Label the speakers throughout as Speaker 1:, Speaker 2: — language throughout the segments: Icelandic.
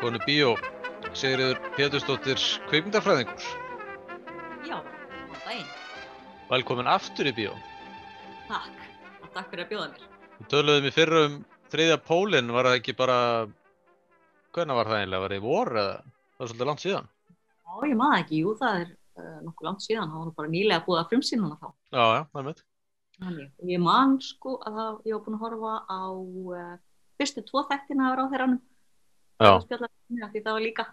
Speaker 1: konu bíó Sigriður Pétursdóttir kveikmyndafræðingur.
Speaker 2: Já, á daginn.
Speaker 1: Velkomin aftur í bíó.
Speaker 2: Takk. Og takk fyrir að bjóða mér.
Speaker 1: Við töluðum í fyrra um þriðja pólinn, var það ekki bara, hvernig var það eiginlega, var það í vor eða það var svolítið langt síðan?
Speaker 2: Já, ég maður það ekki. Jú, það er uh, nokkuð langt síðan. Það var nú bara nýlega búið að frumsýna hana þá.
Speaker 1: Já, já, það er mitt.
Speaker 2: Þannig. Og Ég man sko að það, ég var búin að horfa á uh, fyrstu tvo þættina af ráðherranum.
Speaker 1: Já,
Speaker 2: Það spjallar með því það var líka,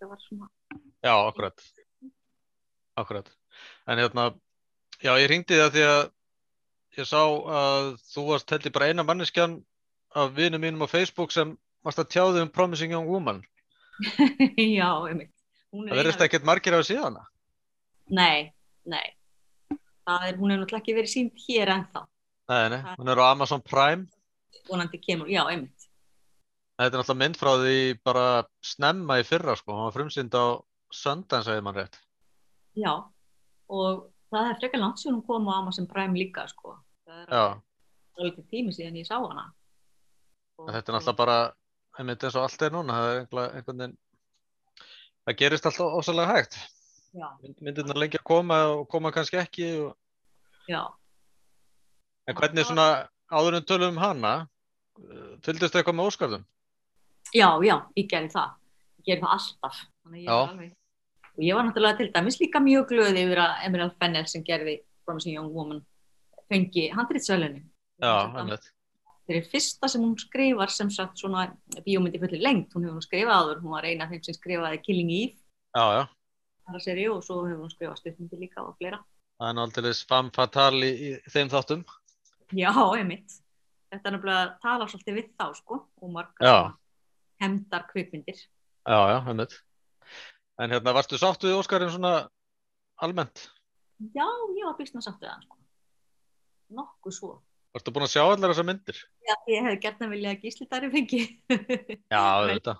Speaker 2: það var svona,
Speaker 1: já, akkurat. Akkurat. En hérna, já, ég ringdi það því að ég sá að þú varst held ég bara eina manneskjan af vinum mínum á Facebook sem varst að tjáði um Promising Young Woman.
Speaker 2: já, einmitt. Hún
Speaker 1: Það verðist
Speaker 2: eina-
Speaker 1: ekkert margir á síðana.
Speaker 2: Nei, nei. Það er, hún hefur náttúrulega ekki verið sínd hér ennþá.
Speaker 1: Nei, nei, hún er á Amazon Prime.
Speaker 2: Vonandi kemur, já, einmitt.
Speaker 1: Þetta er náttúrulega mynd frá því bara snemma í fyrra, sko. Hún var frumsýnd á Sundance, segir mann rétt.
Speaker 2: Já, og það er frekar langt síðan hún kom á Amazon Prime líka, sko. Það er
Speaker 1: Já,
Speaker 2: alveg tími síðan ég sá hana. Og,
Speaker 1: en þetta er náttúrulega bara, ég myndi eins og allt er núna, það er einhver, einhvern veginn, það gerist alltaf ósalega hægt.
Speaker 2: Já,
Speaker 1: Mynd- Myndirnar lengi að koma og koma kannski ekki. Og...
Speaker 2: já.
Speaker 1: En hvernig svona áður en tölum um hana, eh, fylgdist eitthvað með óskarðum?
Speaker 2: Já, já, ég gerði það. Ég gerði það alltaf. Þannig að ég
Speaker 1: Já.
Speaker 2: var alveg... Og ég var náttúrulega til dæmis líka mjög glöð yfir að Emerald Fennell sem gerði Promising Young Woman fengi handritsvelunin.
Speaker 1: Já, einmitt.
Speaker 2: Þetta er fyrsta sem hún skrifar sem sagt svona bíómyndi fullir lengt. Hún hefur nú skrifað áður, hún var eina af þeim sem skrifaði Killing Eve,
Speaker 1: Já, já.
Speaker 2: þar að seri og svo hefur hún skrifað stuttmyndi líka og fleira.
Speaker 1: Það er náttúrulega fam fatal í, í þeim þáttum.
Speaker 2: Já, einmitt. Þetta er náttúrulega að tala svolítið við þá sko og margar
Speaker 1: Já.
Speaker 2: svona hefndar kvikmyndir.
Speaker 1: Já, já, einmitt. En hérna, varstu sáttu við Óskarinn svona almennt?
Speaker 2: Já, ég var býstna sátt við hann sko. Nokkuð svo.
Speaker 1: Varstu búin að sjá allar þessar myndir?
Speaker 2: Já, ég hef gert að vilja að gíslitari fengi
Speaker 1: Já,
Speaker 2: Vel.
Speaker 1: þetta.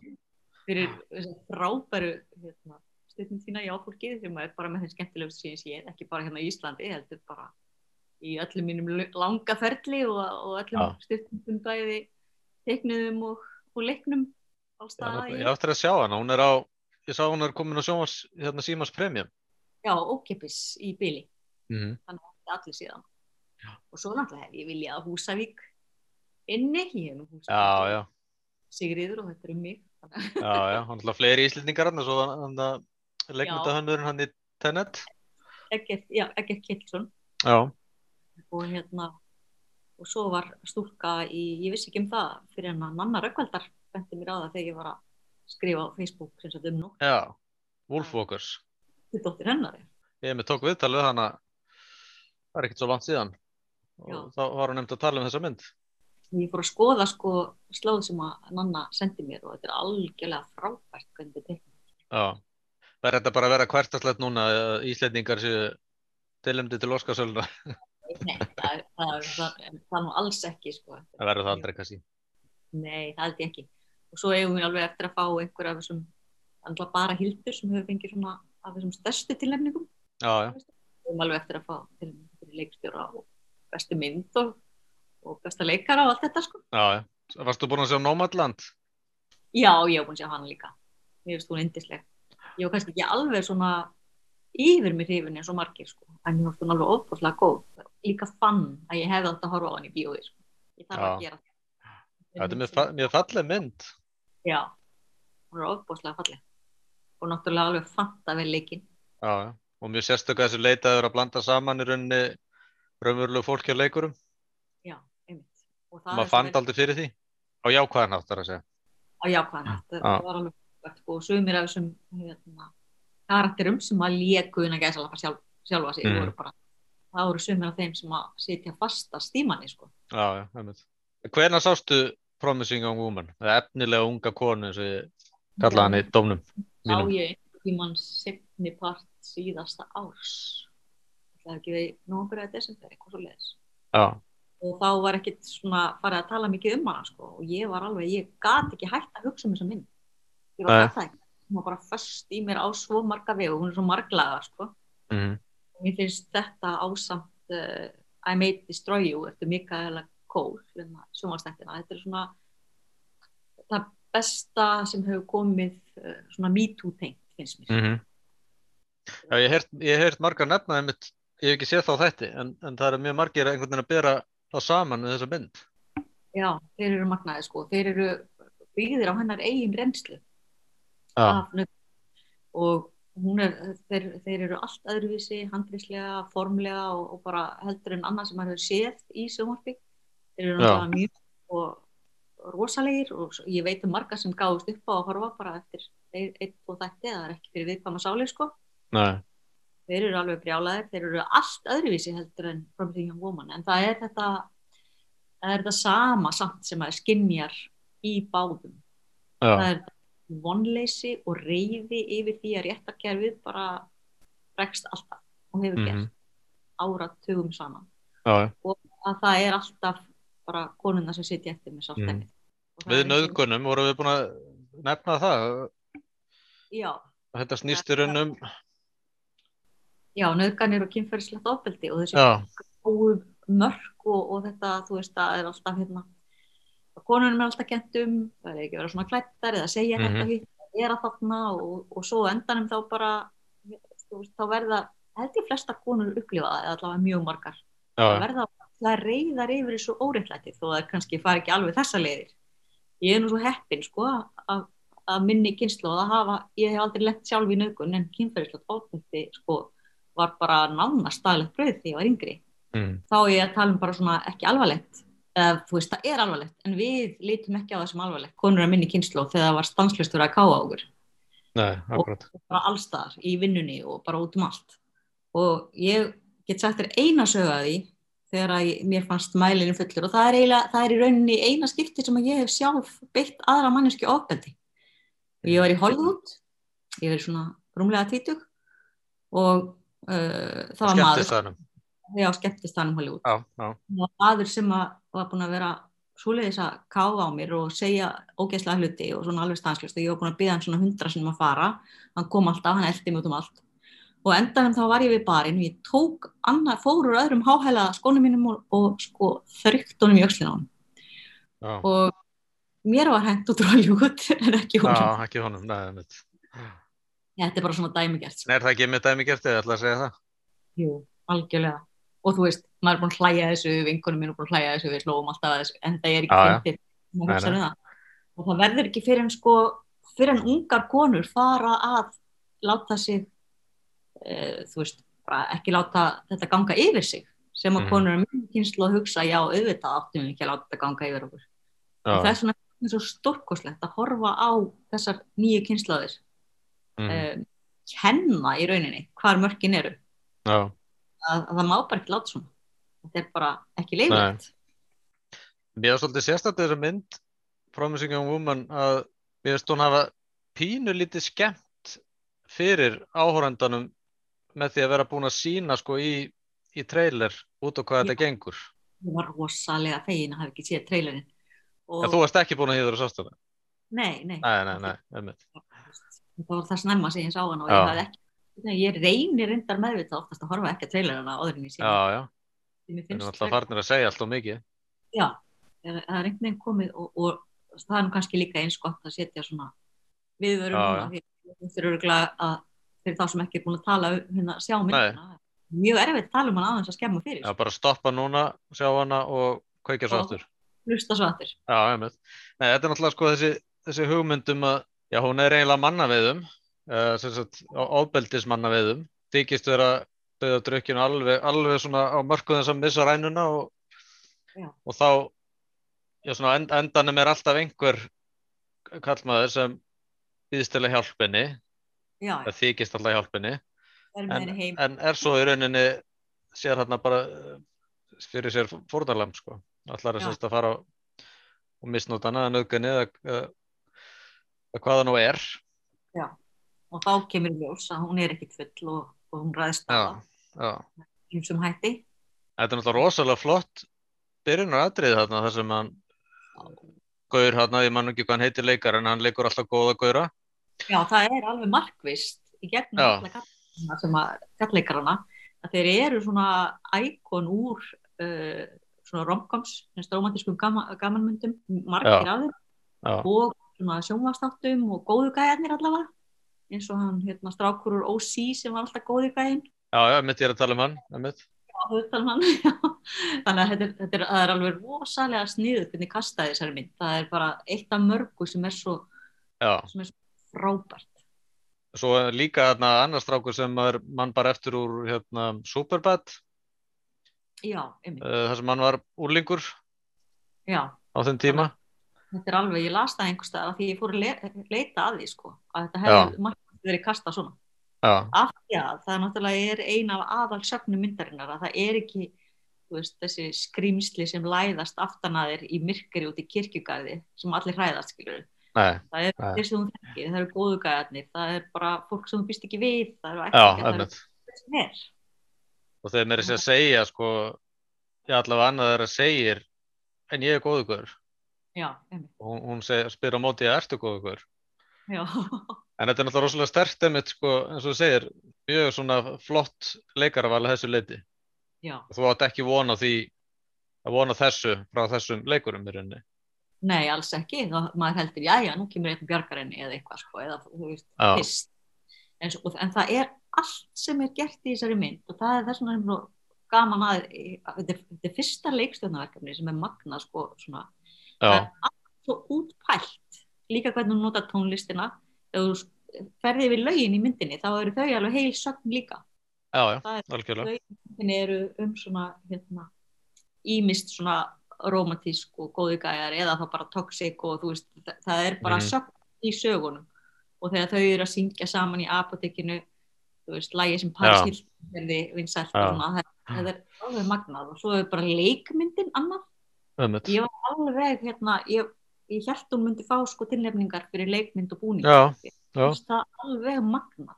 Speaker 2: fyrir þessar frábæru hérna, stundin sína í áfólkið sem er bara með þeim skemmtilegust síðan sem ég er ekki bara hérna í Íslandi, heldur bara í öllum mínum lu- langa ferli og, og öllum
Speaker 1: Já.
Speaker 2: stundum bæði teiknuðum og, og leiknum alls
Speaker 1: Já,
Speaker 2: staðar.
Speaker 1: ég
Speaker 2: í-
Speaker 1: eftir að sjá hana. Hún er á, ég sá hún er komin á sjómas, hérna Símas Premium.
Speaker 2: Já, ókipis í byli,
Speaker 1: Mm.
Speaker 2: allir síðan. Og svo náttúrulega hef ég viljað Húsavík inni, ég hef nú
Speaker 1: Já,
Speaker 2: Húsavík
Speaker 1: já,
Speaker 2: Sigriður og þetta er um mig. Þannig,
Speaker 1: já, já. Hún er alltaf fleiri íslendingar hann og svo hann að leikmyndahönnurinn hann í Tenet.
Speaker 2: að Eggert, já, Eggert Kjellsson.
Speaker 1: Já,
Speaker 2: og hérna og svo var stúlka í, ég vissi ekki um það fyrir hann að Nanna Rökkveldar benti mér á það þegar ég var að skrifa á Facebook sem sagt um nóttu
Speaker 1: já. Wolfwalkers.
Speaker 2: dóttir hennar er.
Speaker 1: Ég með tók viðtal við hana, það er ekkert svo langt síðan. Og
Speaker 2: Já.
Speaker 1: þá var hún nefnd að tala um þessa mynd.
Speaker 2: ég fór að skoða sko slóð sem að Nanna sendi mér og þetta er algjörlega frábært hvernig þetta er teiknað.
Speaker 1: Já, það er þetta bara að vera hvertaslegt núna að Íslendingar séu tilumdi til Óskarsöluna.
Speaker 2: Nei, það er, það, er, það, er, það er nú alls ekki sko.
Speaker 1: Það verður það aldrei kannski.
Speaker 2: Nei, það held ég ekki og svo eigum við alveg eftir að fá einhver af þessum andla bara hildur sem hefur fengið svona af þessum stærstu tilnefningum
Speaker 1: Já, já,
Speaker 2: við erum alveg eftir að fá til fyrir leikstjóra og bestu mynd og, og besta leikara og allt þetta sko.
Speaker 1: já, já. Varstu búin að sjá Nómadland?
Speaker 2: Já, ég hef búin að sjá hana líka. Mér finnst hún indisleg. Ég var kannski ekki alveg svona yfir mér hrifin eins og margir sko. En mér finnst hún alveg ofbúslega góð. Líka fann að ég hefði átt að horfa á hann í bíói sko. Ég þarf að
Speaker 1: Já.
Speaker 2: gera það.
Speaker 1: Þetta er mjög, fa mjög falleg mynd.
Speaker 2: Já, hún er ofbúslega falleg. Og náttúrulega alveg fanta vel leikinn.
Speaker 1: Já, já. Og mjög sérstökka þessu leitaður að blanda saman í rauninni raunverulegu fólki og leikurum.
Speaker 2: Já, einmitt. Og það er
Speaker 1: Maður
Speaker 2: svo
Speaker 1: fann
Speaker 2: vel-
Speaker 1: aldrei fyrir því. Á jákvæðan áttar að segja.
Speaker 2: á jákvæðan hátt.
Speaker 1: Já.
Speaker 2: Það var alveg frábært, sko, og sumir af þessum hérna, karakterum sem að léku innan gæðsalapa sjálf, sjálfa sig
Speaker 1: Mm.
Speaker 2: voru bara, það voru sumir af þeim sem að sitja fastast í manni sko.
Speaker 1: Já, já, einmitt. Hvenær sástu Promising Young Woman? Það er efnilega unga konu eins og ég kallaði hann í dómnum
Speaker 2: Sá
Speaker 1: mínum.
Speaker 2: ég tímann sefni part síðasta árs það er ekki við nógur eða desember eitthvað svo leiðis
Speaker 1: Já,
Speaker 2: og þá var ekkit svona farið að tala mikið um hana sko. og ég var alveg, ég gat ekki hægt að hugsa um þessa mynd ég var
Speaker 1: Nei.
Speaker 2: að það ekki hún var bara föst í mér á svo marga vegu hún er svo marglaga sko.
Speaker 1: mhm.
Speaker 2: Mér finnst þetta ásamt uh, I May Destroy You eftir Mikaela Cole, hérna sjómanstættina. Þetta er svona, það besta sem hefur komið uh, svona MeToo tengt finnst mér.
Speaker 1: -hmm. Já, ég hef heyrt- ég hef heyrt margar nefna einmitt, ég hef ekki séð þá þetta en, en það eru mjög margir einhvern veginn að bera þá saman við þessa mynd
Speaker 2: Já, þeir eru magnaði sko, þeir eru byggðir á hennar eigin reynslu
Speaker 1: Já,
Speaker 2: af nöfn og hún er, þeir, þeir eru allt öðruvísi, handrislega, formlega og, og bara heldur en annað sem maður hefur séð í sjónvarpi. Þeir eru náttúrulega mjög og rosalegir og svo- ég veit um marga sem gáðust upp á að horfa bara eftir ein- einn og þætti, það er ekki fyrir viðkvæma sáli sko.
Speaker 1: nei,
Speaker 2: Þeir eru alveg brjálæðir, þeir eru allt öðruvísi heldur en Promising Young Woman en það er þetta, það er þetta sama samt sem maður skinjar í báðum
Speaker 1: já,
Speaker 2: það er vonleysi og reyði yfir því að réttarkerfið bara bregst alltaf og hefur
Speaker 1: Mhm.
Speaker 2: gert áratugum saman
Speaker 1: já, já.
Speaker 2: að það er alltaf bara konuna sem sitja eftir með sáltæmi mm.
Speaker 1: Mhm. Við nöðgunum vorum við búin að nefna það
Speaker 2: já,
Speaker 1: þetta snýstur um
Speaker 2: já, nöðganir og kynferðislegt ofbeldi og þessi
Speaker 1: já,
Speaker 2: góðu mörk og, og þetta, þú veist, það er alltaf hérna, konunum er alltaf kent um, það er ekki að vera svona klættar eða segja
Speaker 1: Mhm.
Speaker 2: þetta hitt, gera þarna og, og svo á endanum þá bara, þú veist, þá verða, held ég flesta konur upplifaða, eða allavega mjög margar,
Speaker 1: já,
Speaker 2: það verða það reyðar yfir þessu óreittlæti þó að kannski fari ekki alveg þessa leiðir. Ég er nú svo heppin, sko, að, að minni kynslu og að hafa, ég hef aldrei lett sjálf í nögun en kynferðislega tóknundi, sko, var bara nánast staðlegt brauð því ég var yngri
Speaker 1: mm,
Speaker 2: þá er ég að tala um bara svona ekki alvarlegt eða þú veist það er alvarlegt en við lítum ekki á það sem alvarlegt konur að minni kynslu þegar það var stanslustur að káa okkur
Speaker 1: nei, akkurat
Speaker 2: bara allstaðar í vinnunni og bara út um allt og ég get sagt þér eina sögu að því þegar að ég, mér fannst mælinu fullur og það er, eiginlega- það er í rauninni eina skipti sem að ég hef sjálf beitt aðra manneski ofbeldi og ég var í Hollywood ég var í svona rúmlega tvítug og uh, það var maður
Speaker 1: skemmtistaðanum
Speaker 2: já, skemmtist hann um Hollywood
Speaker 1: já, já,
Speaker 2: og aður sem að var búin að vera svoleiðis að káfa á mér og segja ógeðslega hluti og svona alveg stanslust og ég var búin að byggja hann svona hundra sem að fara hann kom alltaf, hann eldi mig út um allt og endanum þá var ég við barinn og ég tók annað, fórur öðrum háhæla skónum mínum og, og sko þrygt honum í öxlina á hann
Speaker 1: já,
Speaker 2: og mér var hent út ráljúkut en ekki honum,
Speaker 1: já ekki honum nei, einmitt.
Speaker 2: þetta er bara svona dæmigert sko.
Speaker 1: Nei, er það ekki mitt dæmi gert eða ætla að segja það
Speaker 2: Jú, algjörlega. Og þú veist, maður er búin að hlæja að þessu, vinkunum minn er búin að hlæja að þessu, við slóum alltaf að þessu, en það er ekki
Speaker 1: Já, já.
Speaker 2: fyndið, maður
Speaker 1: Nei,
Speaker 2: hugsa
Speaker 1: nei.
Speaker 2: um það. Og það verður ekki fyrir en sko, fyrir en ungar konur fara að láta sig, e, þú veist, bara ekki láta þetta ganga yfir sig, sem að
Speaker 1: Mhm.
Speaker 2: konur er mjög kynslu að hugsa, já, auðvitað áttum við ekki að láta þetta ganga yfir okkur. Og það
Speaker 1: já,
Speaker 2: er svona svo stórkoslegt að horfa á þessar nýju kynslaðir,
Speaker 1: mm,
Speaker 2: mm. kenna í rauninni hvar mörkin eru
Speaker 1: já.
Speaker 2: að, að það má bara ekki láta svona þetta er bara ekki leiflegt
Speaker 1: Mér er svolítið sérstætt þessa mynd Promising Young Woman að mér veist hún hafa pínu lítið skemmt fyrir áhórandanum með því að vera búin að sína sko í, í trailer út á hvað þetta gengur.
Speaker 2: ég var rosalega fegin að hafa ekki séð trailerinn og
Speaker 1: En þú varst ekki búin að hýður að sást þetta?
Speaker 2: nei, nei,
Speaker 1: Nei, nei, nei, einmitt.
Speaker 2: það var það snemma sem ég sá hann og
Speaker 1: Já.
Speaker 2: ég hafði ekki Nei, ég reynir reyndar meðvitað oftast að horfa ekki að trailerina áður en ég sé
Speaker 1: Já,
Speaker 2: hann.
Speaker 1: já,
Speaker 2: Því mér
Speaker 1: við erum
Speaker 2: finnst
Speaker 1: alltaf farnir að segja alltaf mikið.
Speaker 2: já, það það er einhvern veginn komið og, og það er nú kannski líka eins gott að setja svona viðvörum
Speaker 1: Já,
Speaker 2: núna, því að þetta er örgulega að fyrir þá sem ekki er búin að tala um hérna sjá
Speaker 1: Nei.
Speaker 2: myndina, mjög erfitt tala um hann aðeins að skemma fyrir,
Speaker 1: Já, bara stoppa núna, sjá hana og kveikja svo
Speaker 2: Já.
Speaker 1: aftur.
Speaker 2: hlusta svo aftur
Speaker 1: Já, einmitt. Nei, þetta er náttúrulega sko þessi, þessi hugmyndum að, já, hún er eiginlega mannaveiðum, uh, sem sagt, ofbeldis mannaveiðum, þykist vera döða drukkinu alveg, alveg svona á mörku þess að missa rænuna og,
Speaker 2: Já.
Speaker 1: og þá, já, svona á end, endanum er alltaf einhver kallmaður sem býðst til að hjálpinni,
Speaker 2: já,
Speaker 1: það þykist alltaf hjálpinni,
Speaker 2: er með
Speaker 1: en,
Speaker 2: henni heim
Speaker 1: en er svo í rauninni, sér hérna bara eh, fyrir sér fórnalam, sko, allar er
Speaker 2: Já.
Speaker 1: sérst að fara og misnóta hana, nöðgunni eða eða- eða hvað það nú er
Speaker 2: og þá kemur í ljós að hún er ekkit full og, og hún ræðst á
Speaker 1: já,
Speaker 2: það
Speaker 1: já.
Speaker 2: einsum hætti
Speaker 1: þetta er náttúrulega rosalega flott byrjunar aðrið þarna þar sem hann gaur hérna, ég man nú ekki hvað hann heitir leikar en hann leikur alltaf góða gaura
Speaker 2: já það er alveg markvist í gegnum
Speaker 1: Já.
Speaker 2: alla kallarana sem að kalleikarana að þeir eru svona ækon úr uh, svona romkoms, svona romantískum gamanmyndum margir
Speaker 1: Já.
Speaker 2: af þeim
Speaker 1: já,
Speaker 2: og svona sjónvastáttum og góðu gæðarnir allavega eins og hann hérna strákur úr OC sem var alltaf góðu gæðin
Speaker 1: Já, já, mitt ég er að tala um hann, einmitt.
Speaker 2: á höfðtalum hann já. þannig að þetta, er- þetta er, það er alveg rosalega sniður hvernig kastaði þessari mynd það er bara eitt af mörgu sem er svo,
Speaker 1: Já,
Speaker 2: sem er svo frábært
Speaker 1: svo er líka þarna annars strákur sem er mann bara eftir úr hérna, Superbad,
Speaker 2: já, einmitt,
Speaker 1: uh, þar sem hann var úrlingur á
Speaker 2: já
Speaker 1: þeim tíma.
Speaker 2: þetta er alveg, ég las það einhvers staðar af því ég fór að le leita að því sko að þetta hefði margt verið kastað svona
Speaker 1: Já,
Speaker 2: af því að það er náttúrulega er ein af aðal sögnum myndarinnar að það er ekki þú veist, þessi skrýmsli sem læðast aftan að þér í myrkri út í kirkjugarði sem allir hræðast skilur
Speaker 1: nei,
Speaker 2: það er
Speaker 1: Já.
Speaker 2: þeir sem þú þekkir, það eru góðu gæðarnir það er bara fólk sem þú býst ekki við það
Speaker 1: já,
Speaker 2: eru ekki, það eru
Speaker 1: einmitt.
Speaker 2: hver sem er
Speaker 1: Og þeir meiri sér að segja, sko, já, allavega annað þeirra segir, en ég er góðu guður.
Speaker 2: já, einmitt,
Speaker 1: Hún, hún seg, spyr á móti, ertu góðu guður?
Speaker 2: já,
Speaker 1: En þetta er náttúrulega rosalega stert einmitt, sko, eins og þú segir, mjög svona flott leikaraval að þessu leiti.
Speaker 2: já.
Speaker 1: Þú átt ekki vona því að vona þessu frá þessum leikurum í rauninni.
Speaker 2: nei, alls ekki, þá maður heldur já, já, nú kemur eitthvað bjargarinni eða eitthvað sko, eða þú veist,
Speaker 1: Já,
Speaker 2: fyrst en, svo, og- en það er allt sem er gert í þessari mynd og það er þess vegna sem svo gaman að, að þetta er- þetta er fyrsta leikstjórnaverkefni sem er magna sko svona,
Speaker 1: já,
Speaker 2: svo útpælt líka hvernig hún nota tónlistina þegar þú s- ferði yfir lögin í myndinni þá eru þau alveg heil sögn líka
Speaker 1: já, já,
Speaker 2: það er-
Speaker 1: algjörlega.
Speaker 2: myndinni eru um svona hérna, ímist svona romantísk og góði gæjar eða þá bara toxic og þú veist það, það er bara
Speaker 1: Mhm.
Speaker 2: sögn í sögunum og þegar þau eru að syngja saman í apotekinu þú veist, lægi sem Paris
Speaker 1: Já.
Speaker 2: Hilton verði vinsælt
Speaker 1: Já.
Speaker 2: og svona, það, það er alveg magnað og svo er bara leikmyndin annað,
Speaker 1: Ömmit.
Speaker 2: ég var alveg hérna, ég, ég held hún myndi fá sko tilnefningar fyrir leikmynd og búning
Speaker 1: Já, já.
Speaker 2: Mér finnst það er alveg magnað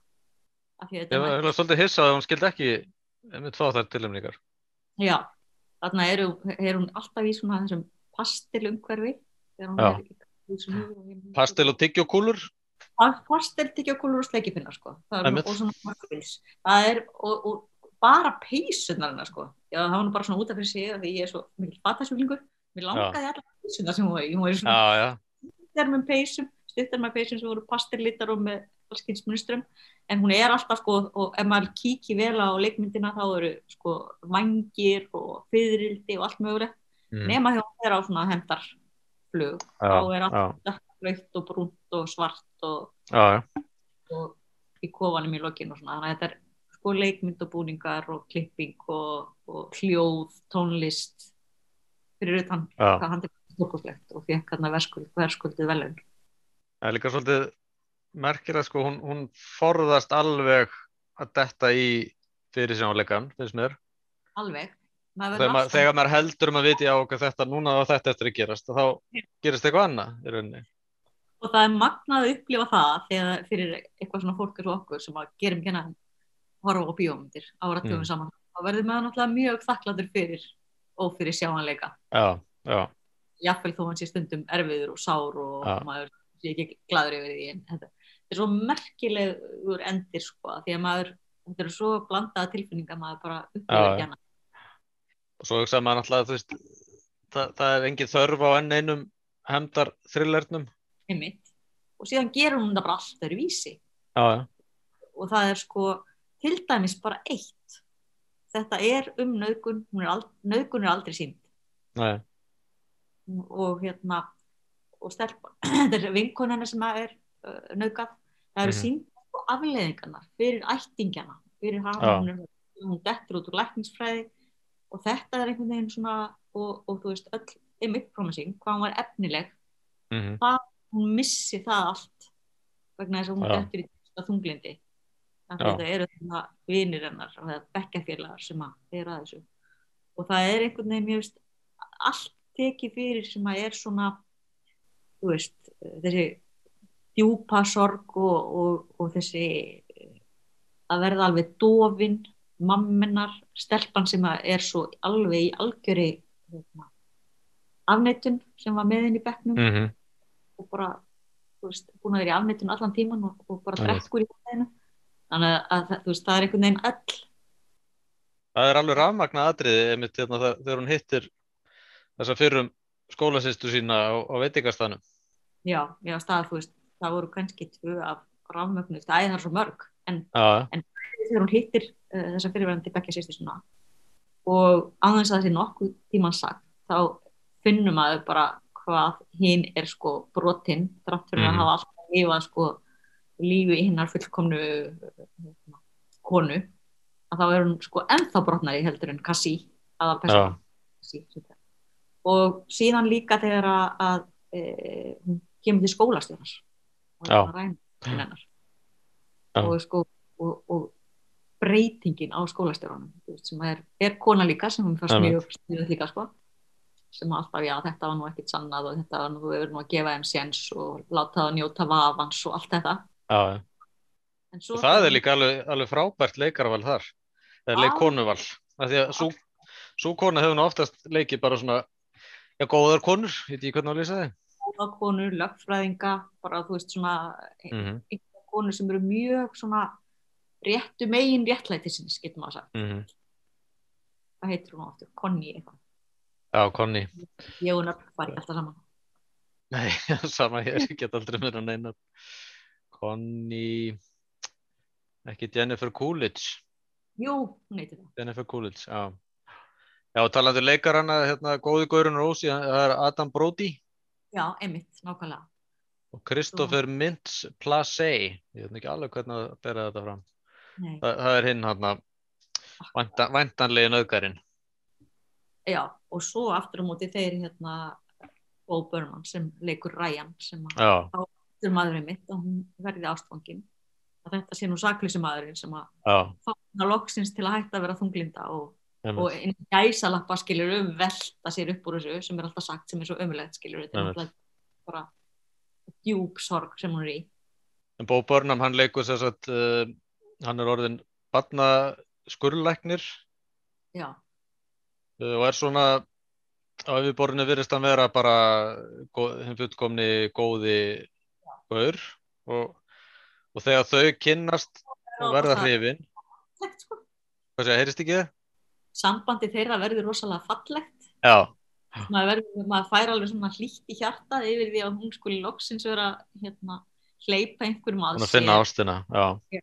Speaker 2: af því að
Speaker 1: Ég
Speaker 2: þetta
Speaker 1: var
Speaker 2: er
Speaker 1: eiginlega svolítið hissað að hún skildi ekki einmitt fá þær tilumningar.
Speaker 2: Já, þarna er, er hún alltaf í svona þessum pastilumhverfi þegar hún
Speaker 1: Já.
Speaker 2: er í húsinu og hinum.
Speaker 1: Pastil og tyggjókúlur?
Speaker 2: Pa- pastel tyggjókúlur og sleikipinnar sko. það er,
Speaker 1: Einmitt.
Speaker 2: og svona markvins það er og, og bara peysunar hennar sko. já, það var nú bara svona út af fyrir sig af því ég er svo mikil fatasjúklingur mér langaði allar peysunar sem hún var í hún var í svona
Speaker 1: Já, já,
Speaker 2: stuttar með peysum stuttar með peysum sem voru pastellitar og með allskynsmunstrum en hún er alltaf sko og ef maður kíkir vel á leikmyndina þá eru sko vangir og fyririldi og allt mögulegt
Speaker 1: mm,
Speaker 2: nema þegar hún er á svona
Speaker 1: já,
Speaker 2: hendarflug þá er allt-
Speaker 1: já,
Speaker 2: raukt og brúnt og svart og,
Speaker 1: já, já,
Speaker 2: og í kofanum í lokin og svona þannig að þetta er sko leikmynd og búningar og klipping og, og hljóð, tónlist fyrir utan
Speaker 1: já.
Speaker 2: hvað hann er stórkoslegt og fekk hann að verðskuldið velun
Speaker 1: Það er líka svolítið merkir að sko hún, hún forðast alveg að detta í fyrir sjónleikan, finnst mér.
Speaker 2: alveg Maður verður
Speaker 1: Þegar, mað,
Speaker 2: alltaf-
Speaker 1: þegar maður heldur um að viti á okkur þetta núna og þetta eftir að gerast, þá gerist eitthvað annað í rauninni.
Speaker 2: og það er magnað að upplifa það þegar fyrir eitthvað svona fólk eins og okkur sem að gerum ekki að horfa á bíómyndir áratugum
Speaker 1: Mm.
Speaker 2: saman þá verður maður náttúrulega mjög þakklatur fyrir og fyrir sjáanleika
Speaker 1: Já, já,
Speaker 2: jafnvel þó hann sé stundum erfiður og sár og
Speaker 1: Já.
Speaker 2: maður sé ekki gladur yfir því en þetta þetta er svo merkilegur endir sko af því að maður þetta eru svo blandaða tilfinninga maður bara upplifir
Speaker 1: Já,
Speaker 2: ekki
Speaker 1: já.
Speaker 2: hana
Speaker 1: og svo hugsaði maður alltaf að þú veist, það, það er engin þörf á enn einum hemdar þrillernum.
Speaker 2: heimitt og síðan gerum hún það bara allt öðru vísi
Speaker 1: Já, já,
Speaker 2: og það er sko til dæmis bara eitt þetta er um nöðgun er ald, nöðgun er aldrei sínd
Speaker 1: nei,
Speaker 2: og hérna og stelpa, þetta er vinkon hennar sem er uh, nöðgat, það eru
Speaker 1: Mhm.
Speaker 2: mm sínd og afleðingarnar fyrir ættingjana fyrir
Speaker 1: Já.
Speaker 2: hana, hún, er, hérna, hún dettur út úr lækningsfræði og þetta er einhvern veginn svona og, og þú veist, öll image promising, hvað hún var efnileg
Speaker 1: mm
Speaker 2: hún missi það allt vegna þess að hún
Speaker 1: Já.
Speaker 2: dættur í þetta þunglindi þannig
Speaker 1: Já.
Speaker 2: að þetta eru þarna vinir hennar og það bekkafélagar sem að er að þessu og það er einhvern veginn ég veist allt tekið fyrir sem að er svona þú veist þessi djúpa sorg og, og, og þessi eh, að verða alveg dofin mammenar, stelpan sem að er svo alveg í algjöri hérna, afneitun sem var með henni í bekknum
Speaker 1: mm -hmm.
Speaker 2: og bara þú veist, búin að vera í afnettun allan tíman og, og bara
Speaker 1: Einmitt.
Speaker 2: drekkur í hlæðinu þannig að, að það- þú veist, það er einhvern veginn öll
Speaker 1: Það er alveg rafmagna atriði einmitt hérna þa- þegar hún hittir þessa fyrrum skólasýstu sína á, á veitingastannum.
Speaker 2: já, já, stað, þú veist, það voru kannski tvö af rafmögnu, það er svo mörg en
Speaker 1: já,
Speaker 2: þegar hún hittir uh, þessa fyrirverandi bekkja sýstir svona og aðeins að þessi nokkuð tíman sagt þá finnum maður bara hvað hinn er sko brotinn þrátt fyrir
Speaker 1: Mhm.
Speaker 2: að hafa alltaf lifað sko lífi í hinnar fullkomnu uh, konu að þá er hún sko ennþá brotnari heldur en Kassi aðal
Speaker 1: já,
Speaker 2: sí, sí, það. og síðan líka þegar að, að e, hún kemur til skólastjóðans og
Speaker 1: Já.
Speaker 2: er að ræna til hennar
Speaker 1: Já.
Speaker 2: og sko og, og breytingin á skólastjóðanum sem er, er kona líka sem hún fyrst
Speaker 1: Einmitt.
Speaker 2: mjög stíðuð líka sko sem alltaf, já, þetta var nú ekkit sannað og þetta var nú, þú hefur nú að gefa þeim séns og láta það njóta vafans og allt þetta
Speaker 1: já, já.
Speaker 2: En svo
Speaker 1: Og það er líka alveg, alveg frábært leikarval þar, eða
Speaker 2: Já.
Speaker 1: leikkonuval. Af því að sú, sú kona hefur nú oftast leikið bara svona, já, góðar konur, ég veit ekki hvernig að lýsa þið.
Speaker 2: konur, lögfræðinga, bara þú veist svona
Speaker 1: Mm
Speaker 2: konur sem eru mjög svona réttu megin réttlætisins, getur maður að
Speaker 1: Mm.
Speaker 2: sagt. Hvað heitir hún áttur? Conny eitthvað.
Speaker 1: Já, Conny.
Speaker 2: Ég og nöfn var ég alltaf saman.
Speaker 1: Nei, sama hér, ég get aldrei meira neina. Conny, ekki Jennifer Coolidge.
Speaker 2: Jú, hún heitir það.
Speaker 1: Jennifer Coolidge, já. Já, og talandi leikarana, hérna, góði Gaurun Rósi, það er Adam Brody
Speaker 2: Já, Emmitt, nákvæmlega.
Speaker 1: og Christopher Mintz Placey. Ég veit nú ekki alveg hvernig að bera þetta fram.
Speaker 2: Nei.
Speaker 1: Það, það er hinn hann að vænta, væntanlegi nöðgarinn.
Speaker 2: Já, og svo aftur á móti þeir hérna Bo Burnham sem leikur Ryan sem að
Speaker 1: Já,
Speaker 2: aftur maðurinn mitt og hún verði ástfangin. Að þetta sé nú saklýsi maðurinn sem að
Speaker 1: já,
Speaker 2: fána loksins til að hætta að vera þunglinda og,
Speaker 1: einmitt,
Speaker 2: og einn gæsalappa skilur um velta sér upp úr þessu sem er alltaf sagt sem er svo ömulegt skilur þetta er
Speaker 1: Einmitt.
Speaker 2: náttúrulega bara djúb sorg sem hún er í
Speaker 1: En Bo Burnham, hann leikur sér satt, uh, hann er orðin batna skurlæknir
Speaker 2: já,
Speaker 1: uh, og er svona á yfirborðinu virðist hann vera bara gó- hinn fullkomni góði gaur og, og þegar þau kynnast og verða hrifin,
Speaker 2: fallegt sko.
Speaker 1: hvað segja, heyrist ekki það?
Speaker 2: sambandi þeirra verður rosalega fallegt
Speaker 1: Já,
Speaker 2: maður, verður, maður fær alveg svona hlýtt í hjarta yfir því að hún skuli loksins vera hérna, hleypa einhverjum að
Speaker 1: hún að finna ástina, já,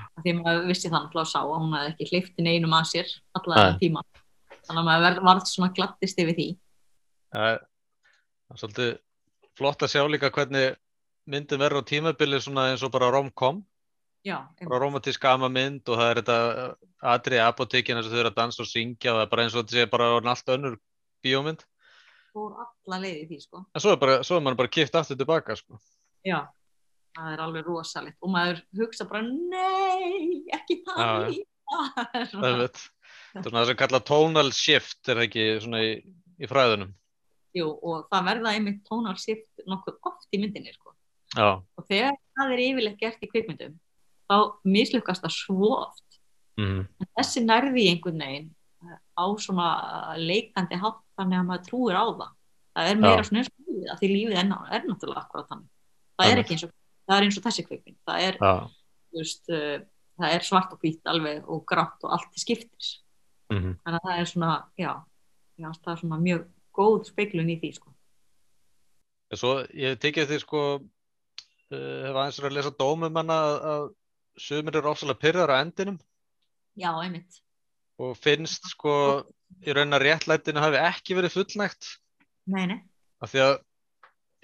Speaker 2: af því maður vissi þannig að sá að hún hefði ekki hleyfti neinum að sér allan
Speaker 1: Nei.
Speaker 2: þennan tíma þannig að maður verð, varð svona glattist yfir því
Speaker 1: það er það er svolítið flott að sjá líka hvernig myndin verður á tímabili svona eins og bara rom-com
Speaker 2: já,
Speaker 1: bara romantísk ama mynd og það er þetta uh, atriði apotekina sem þau eru að dansa og syngja og það er bara eins og þetta sé bara orðin allt önnur bíómynd,
Speaker 2: fór alla leið í því sko.
Speaker 1: en svo er, bara, svo er mann bara kipt aftur tilbaka sko.
Speaker 2: já, það er alveg rosalegt og maður hugsa bara nei, ekki
Speaker 1: Já, já.
Speaker 2: það líka
Speaker 1: það er veit það er svona það sem kalla tonal shift er það ekki svona í, í fræðunum
Speaker 2: Jú, og það verða einmitt tónarsift nokkuð oft í myndinni sko.
Speaker 1: já,
Speaker 2: og þegar það er yfirleitt gert í kvikmyndum þá mislukast það svo oft
Speaker 1: mm.
Speaker 2: en þessi nærði einhvern veginn eh, á svona leikandi hátt þannig að maður trúir á það það er meira
Speaker 1: Já.
Speaker 2: svona eins og lífið að því lífið er, ná- er náttúrulega akkurat þannig það er
Speaker 1: Einmitt.
Speaker 2: ekki eins og, það er eins og þessi kvikmynd það er,
Speaker 1: já
Speaker 2: þú veist, eh, það er svart og hvít alveg og grátt og allt til skiptis
Speaker 1: mm.
Speaker 2: þannig að það er svona, já, já það er svona mjög góð speiklun í því sko.
Speaker 1: en svo ég hef tekið því sko uh, hef aðeins verið að lesa dómum hana að, að sumir eru ofsalega pyrrar á endinum
Speaker 2: já, einmitt
Speaker 1: og finnst sko í raun að réttlætinu hafi ekki verið fullnægt
Speaker 2: Nei, nei.
Speaker 1: af því að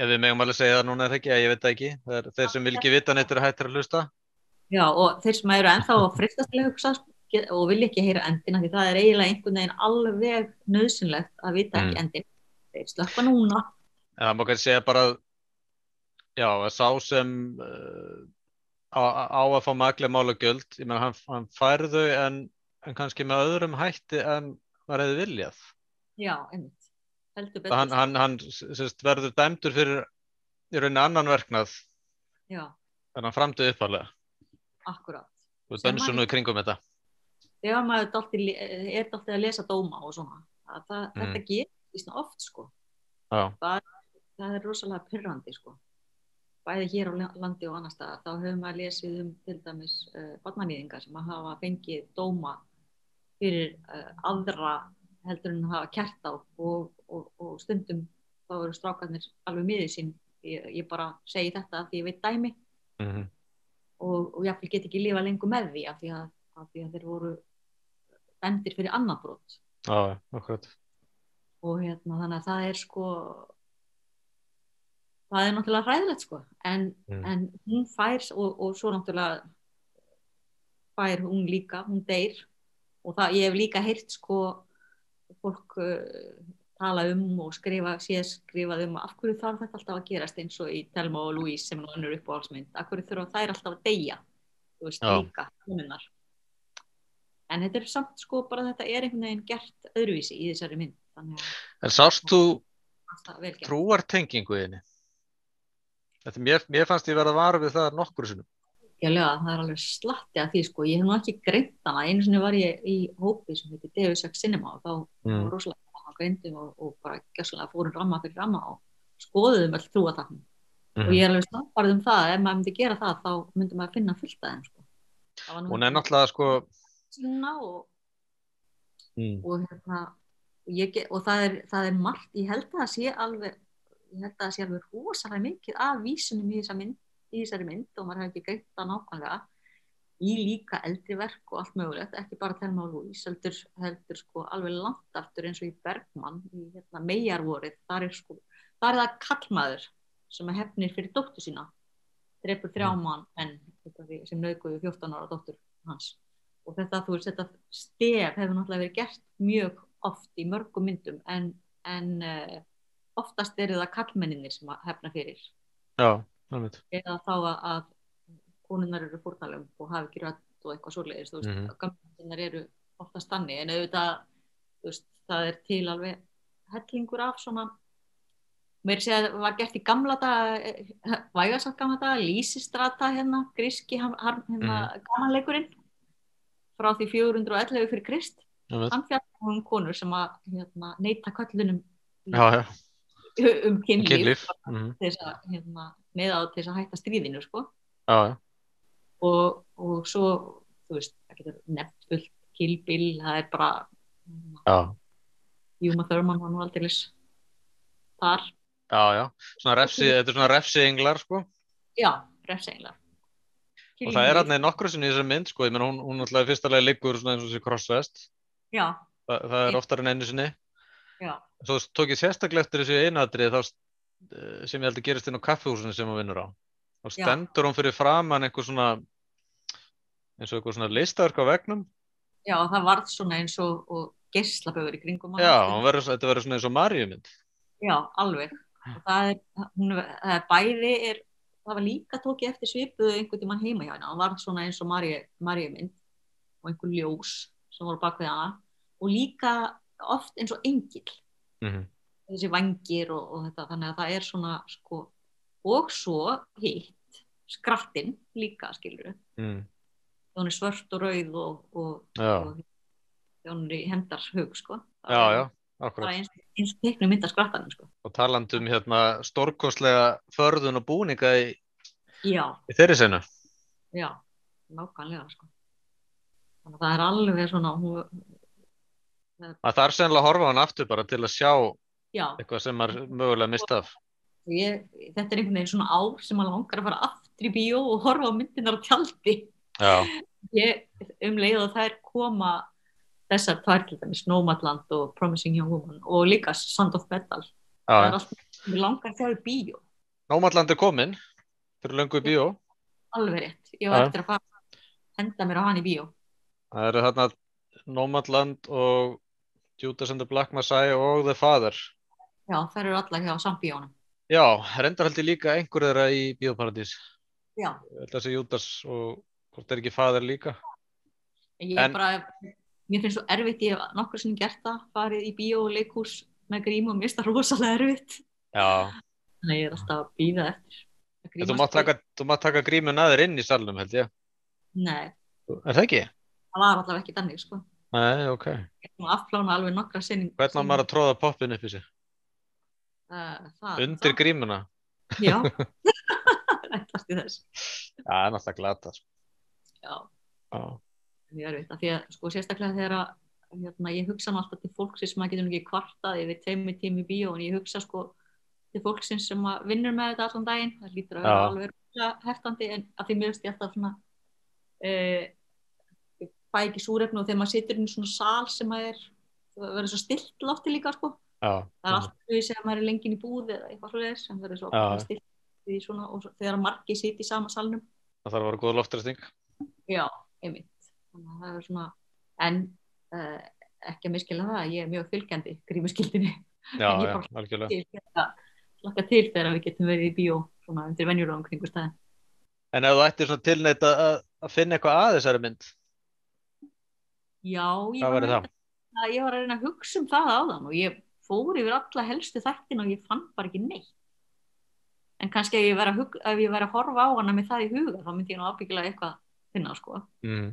Speaker 1: ef við megum alveg segja það núna er það ekki, eða ég veit það ekki það er þeir sem vil ekki vita neitt eru hættir að hlusta
Speaker 2: Já, og þeir sem eru ennþá að fristast til að hugsa sko, get- og vilja ekki heyra endina því það er eiginlega einhvern veginn alveg nöðsynlegt að vita
Speaker 1: Mm.
Speaker 2: ekki endin. Þeir slökka núna.
Speaker 1: en það má kannski segja bara að- já, að sá sem uh, á, á að fá maglega mála göld, ég meina hann, hann fær þau en, en kannski með öðrum hætti en maður hefði viljað
Speaker 2: Já, einmitt. Heldur betur.
Speaker 1: það hann, hann, hann sérst, verður dæmdur fyrir í rauninni annan verknað
Speaker 2: Já,
Speaker 1: en hann framduði uppalega
Speaker 2: akkurát.
Speaker 1: og
Speaker 2: Sem hann-
Speaker 1: dönsum nú í kringum þetta
Speaker 2: Þegar maður dálítið le- eh, er dálítið að lesa dóma og svona, að það,
Speaker 1: Mm.
Speaker 2: þetta gerir svona oft, sko.
Speaker 1: já,
Speaker 2: Það er rosalega pyrrandi, sko. Bæði hér á la- landi og annar staðar, þá höfum maður lesið um til dæmis uh, barnanýðingar sem að hafa fengið dóma fyrir uh, aðra heldur en að hafa kert á og, og, og stundum þá eru strákarnir alveg miður sín ég, ég bara segi þetta af því ég veit dæmi
Speaker 1: mm -hmm.
Speaker 2: og, og jáfnvel get ekki lifa lengur með því af því að, af því að þeir voru dæmdir fyrir annar brot
Speaker 1: Já, akkurat
Speaker 2: og hérna þannig að það er sko það er náttúrulega hræðilegt sko en,
Speaker 1: Mm.
Speaker 2: en hún fær og, og svo náttúrulega fær hún líka, hún deyr og það, ég hef líka heyrt sko fólk uh, tala um og skrifa, sé skrifað um af hverju þarf þetta alltaf að gerast eins og í Telma og Louise sem nú önnur upp á allsmynd af hverju þurfa þær alltaf að deyja þú veist
Speaker 1: Já.
Speaker 2: líka, húninnar en þetta er samt sko bara þetta er einhvern veginn gert öðruvísi í þessari mynd þannig að
Speaker 1: En sást þú
Speaker 2: alltaf vel gert
Speaker 1: trúartengingu þinni? Þetta mér, mér fannst ég verða var við það nokkru sinnum
Speaker 2: Já, það er alveg slatti að því sko, ég hef nú ekki greint hana, einu sinni var ég í hópi sem heitir Deus Ex Cinema og þá mm. var rosalega gaman að greindum og, og bara gjössalega fórum ramma fyrir ramma og skoðuðum öll trúa þarna
Speaker 1: mm.
Speaker 2: og ég er alveg snabbarð um það, ef maður myndi gera það þá myndi maður finna fullt að þeim sko. Það var nú
Speaker 1: Hún er
Speaker 2: ekki
Speaker 1: náttúrulega sko
Speaker 2: sinna og,
Speaker 1: mm.
Speaker 2: og hérna og, ég, ge- og það, er, það er margt, ég held að það sé alveg ég held að það sé alveg rosalega mikið af vísunum í, þessa mynd, í þessari mynd og maður hefði ekki greitt það nákvæmlega í líka eldri verk og allt mögulegt ekki bara Telma og Lúís heldur, heldur sko alveg langt aftur eins og í Bergmann í hérna, megarvorið þar er, sko, þar er það kallmaður sem hefnir fyrir dóttu sína drefur þrjá
Speaker 1: Mm.
Speaker 2: mann en sem nauðguðu 14 ára dóttur hans og þetta, þú veist, þetta stef hefur náttúrulega verið gert mjög oft í mörgum myndum en, en uh, oftast eru það kallmenninir sem að hefna fyrir
Speaker 1: Já, alveg
Speaker 2: eða þá að, að konunnar eru fórnalum og hafi ekki rödd og eitthvað svoleiðis þú veist, mm
Speaker 1: Mhm.
Speaker 2: -hmm. gamlinnar eru oftast þannig en auðvitað þú veist, það er til alveg hellingur af svona mér sé að það var gert í gamla daga vægasamt gamla daga, Lísistrata hérna, gríski ham- harm, hérna,
Speaker 1: Mhm.
Speaker 2: gamanleikurinn frá því 411 fyrir Krist
Speaker 1: alveg
Speaker 2: hann fjallar um konur sem að hérna, neita köllunum
Speaker 1: Já, já,
Speaker 2: um kynlíf,
Speaker 1: kynlíf mm.
Speaker 2: til þess að hérna, neða á til þess að hætta stríðinu sko
Speaker 1: Já, já,
Speaker 2: og, og svo þú veist, það getur nefnt fullt Kill Bill, það er bara
Speaker 1: já
Speaker 2: Júma Thurman var nú aldeilis þar,
Speaker 1: Já, já, svona refsi, þetta er svona refsi englar sko
Speaker 2: já, refsenglar
Speaker 1: og það er hann nokkru sinni í þessari mynd sko, ég menn hún, hún alltaf fyrstalega liggur svona eins og þessi crossvest
Speaker 2: já,
Speaker 1: Þa, það er oftar en einu sinni
Speaker 2: já,
Speaker 1: Svo tók ég sérstaklega eftir þessu einadri þá, eh, sem ég held að gerist inn á kaffehúsinu sem hún vinnur á og
Speaker 2: Já.
Speaker 1: stendur hún fyrir framan einhver svona eins og einhver svona listaverk á vegnum
Speaker 2: já, það varð svona eins og, og geislaböfur í kringum hann.
Speaker 1: Já, hún verður, þetta verður svona eins og Maríumynd
Speaker 2: já, alveg og það er, hún, það er bæði er, það var líka tókið eftir svipuðu einhvern tímann heima hjá hennar, hún varð svona eins og Marjumynd og einhver ljós sem voru bak við hana og líka oft eins og engill
Speaker 1: mm -hmm.
Speaker 2: þessi vangir og, og þetta þannig að það er svona sko og svo hitt skrattinn líka skilur við
Speaker 1: mm.
Speaker 2: hún er svört og rauð og, og,
Speaker 1: Já,
Speaker 2: og þegar hún er í hendars hug sko Það
Speaker 1: já,
Speaker 2: er
Speaker 1: já,
Speaker 2: bara
Speaker 1: akkurat
Speaker 2: eins, eins og teiknum mynda skrattanum sko
Speaker 1: og talandum hérna stórkostlega förðun og búninga í,
Speaker 2: já,
Speaker 1: í þeirri senu
Speaker 2: já, nákvæmlega sko þannig að það er alveg svona hún,
Speaker 1: að það er sennilega að horfa á hann aftur bara til að sjá
Speaker 2: já,
Speaker 1: eitthvað sem maður mögulega mista af
Speaker 2: ég, þetta er einhvern veginn svona ár sem maður langar að fara aftur í bíó og horfa á myndinar á tjaldi
Speaker 1: Já,
Speaker 2: ég um leið og þær koma þessar tvær til dæmis Nomadland og Promising Young Woman og líka Sound of Metal
Speaker 1: já, já.
Speaker 2: það er allt við langar þegar bíó
Speaker 1: Nómatland er komin fyrir löngu í bíó
Speaker 2: alveg rétt, ég var
Speaker 1: Já.
Speaker 2: eftir að fara að henda mér á hann í bíó
Speaker 1: Það eru þarna Nomadland og Judas and the Black Messiah og The Father.
Speaker 2: já, þær eru allar hjá sambíónum
Speaker 1: Já, reyndar held ég líka einhver þeirra í Bíóparadís.
Speaker 2: já,
Speaker 1: Þessi Judas og hvort er ekki Father líka.
Speaker 2: en ég
Speaker 1: En-
Speaker 2: en, bara mér finnst svo erfitt, ég hef nokkur sinni gert það farið í bíó og leikhús með grímu og mér finnst það rosalega erfitt
Speaker 1: Já,
Speaker 2: þannig að ég er alltaf að býða eftir að
Speaker 1: en þú mátt taka, þú mátt taka grímun aður inn í salnum held ég.
Speaker 2: nei,
Speaker 1: Er það ekki?
Speaker 2: það var allavega ekki þannig sko.
Speaker 1: Nei, ok.
Speaker 2: ég er búin að afplána alveg nokkra sinni
Speaker 1: Hvernig á maður að tróða poppin upp í sig?
Speaker 2: Uh, það,
Speaker 1: Undir grímuna?
Speaker 2: það- Já, ætlast í þess
Speaker 1: Já, það er náttúrulega glata. sko.
Speaker 2: Já,
Speaker 1: Já,
Speaker 2: mjög erfitt af því að sko sérstaklega þegar að hérna, ég hugsa nú alltaf til fólksins sem maður getur nú ekki kvartað yfir teimi tími bíó en ég hugsa sko til fólksins sem að vinnur með þetta allan daginn það lítur að vera
Speaker 1: Já.
Speaker 2: alveg rosalega hertandi en að því mér veist ég alltaf svona eh, ég fæ ekki súrefni og þegar maður situr inn í svona sal sem að er það verður svo stilt lofti líka sko
Speaker 1: já,
Speaker 2: það er alltaf því sem maður er lengin í búð eða eitthvað svoleiðis sem verður svo
Speaker 1: Já.
Speaker 2: stilt í svona og svo, þegar margir sitt í sama salnum
Speaker 1: það þarf að vera góð loftræsting
Speaker 2: Já, einmitt. Þannig að það er svona, en uh, ekki að miskila það, ég er mjög fylgjandi grímuskildinni.
Speaker 1: já,
Speaker 2: En ég
Speaker 1: já,
Speaker 2: bara-
Speaker 1: algjörlega
Speaker 2: Til þess að Laka til þegar við getum verið í bíó, svona undir venjulegum kringu staði.
Speaker 1: en ef þú ættir svona tilneitt að, að- að finna eitthvað að þessari mynd
Speaker 2: Já, ég
Speaker 1: hvað
Speaker 2: var,
Speaker 1: verður það?
Speaker 2: að, ég var að reyna að hugsa um það áðan og ég fór yfir alla helstu þættin og ég fann bara ekki neitt. En kannski ef ég væri að, hug- ef ég væri að horfa á hana með það í huga, þá myndi ég nú ábyggilega eitthvað finna, sko.
Speaker 1: Mm.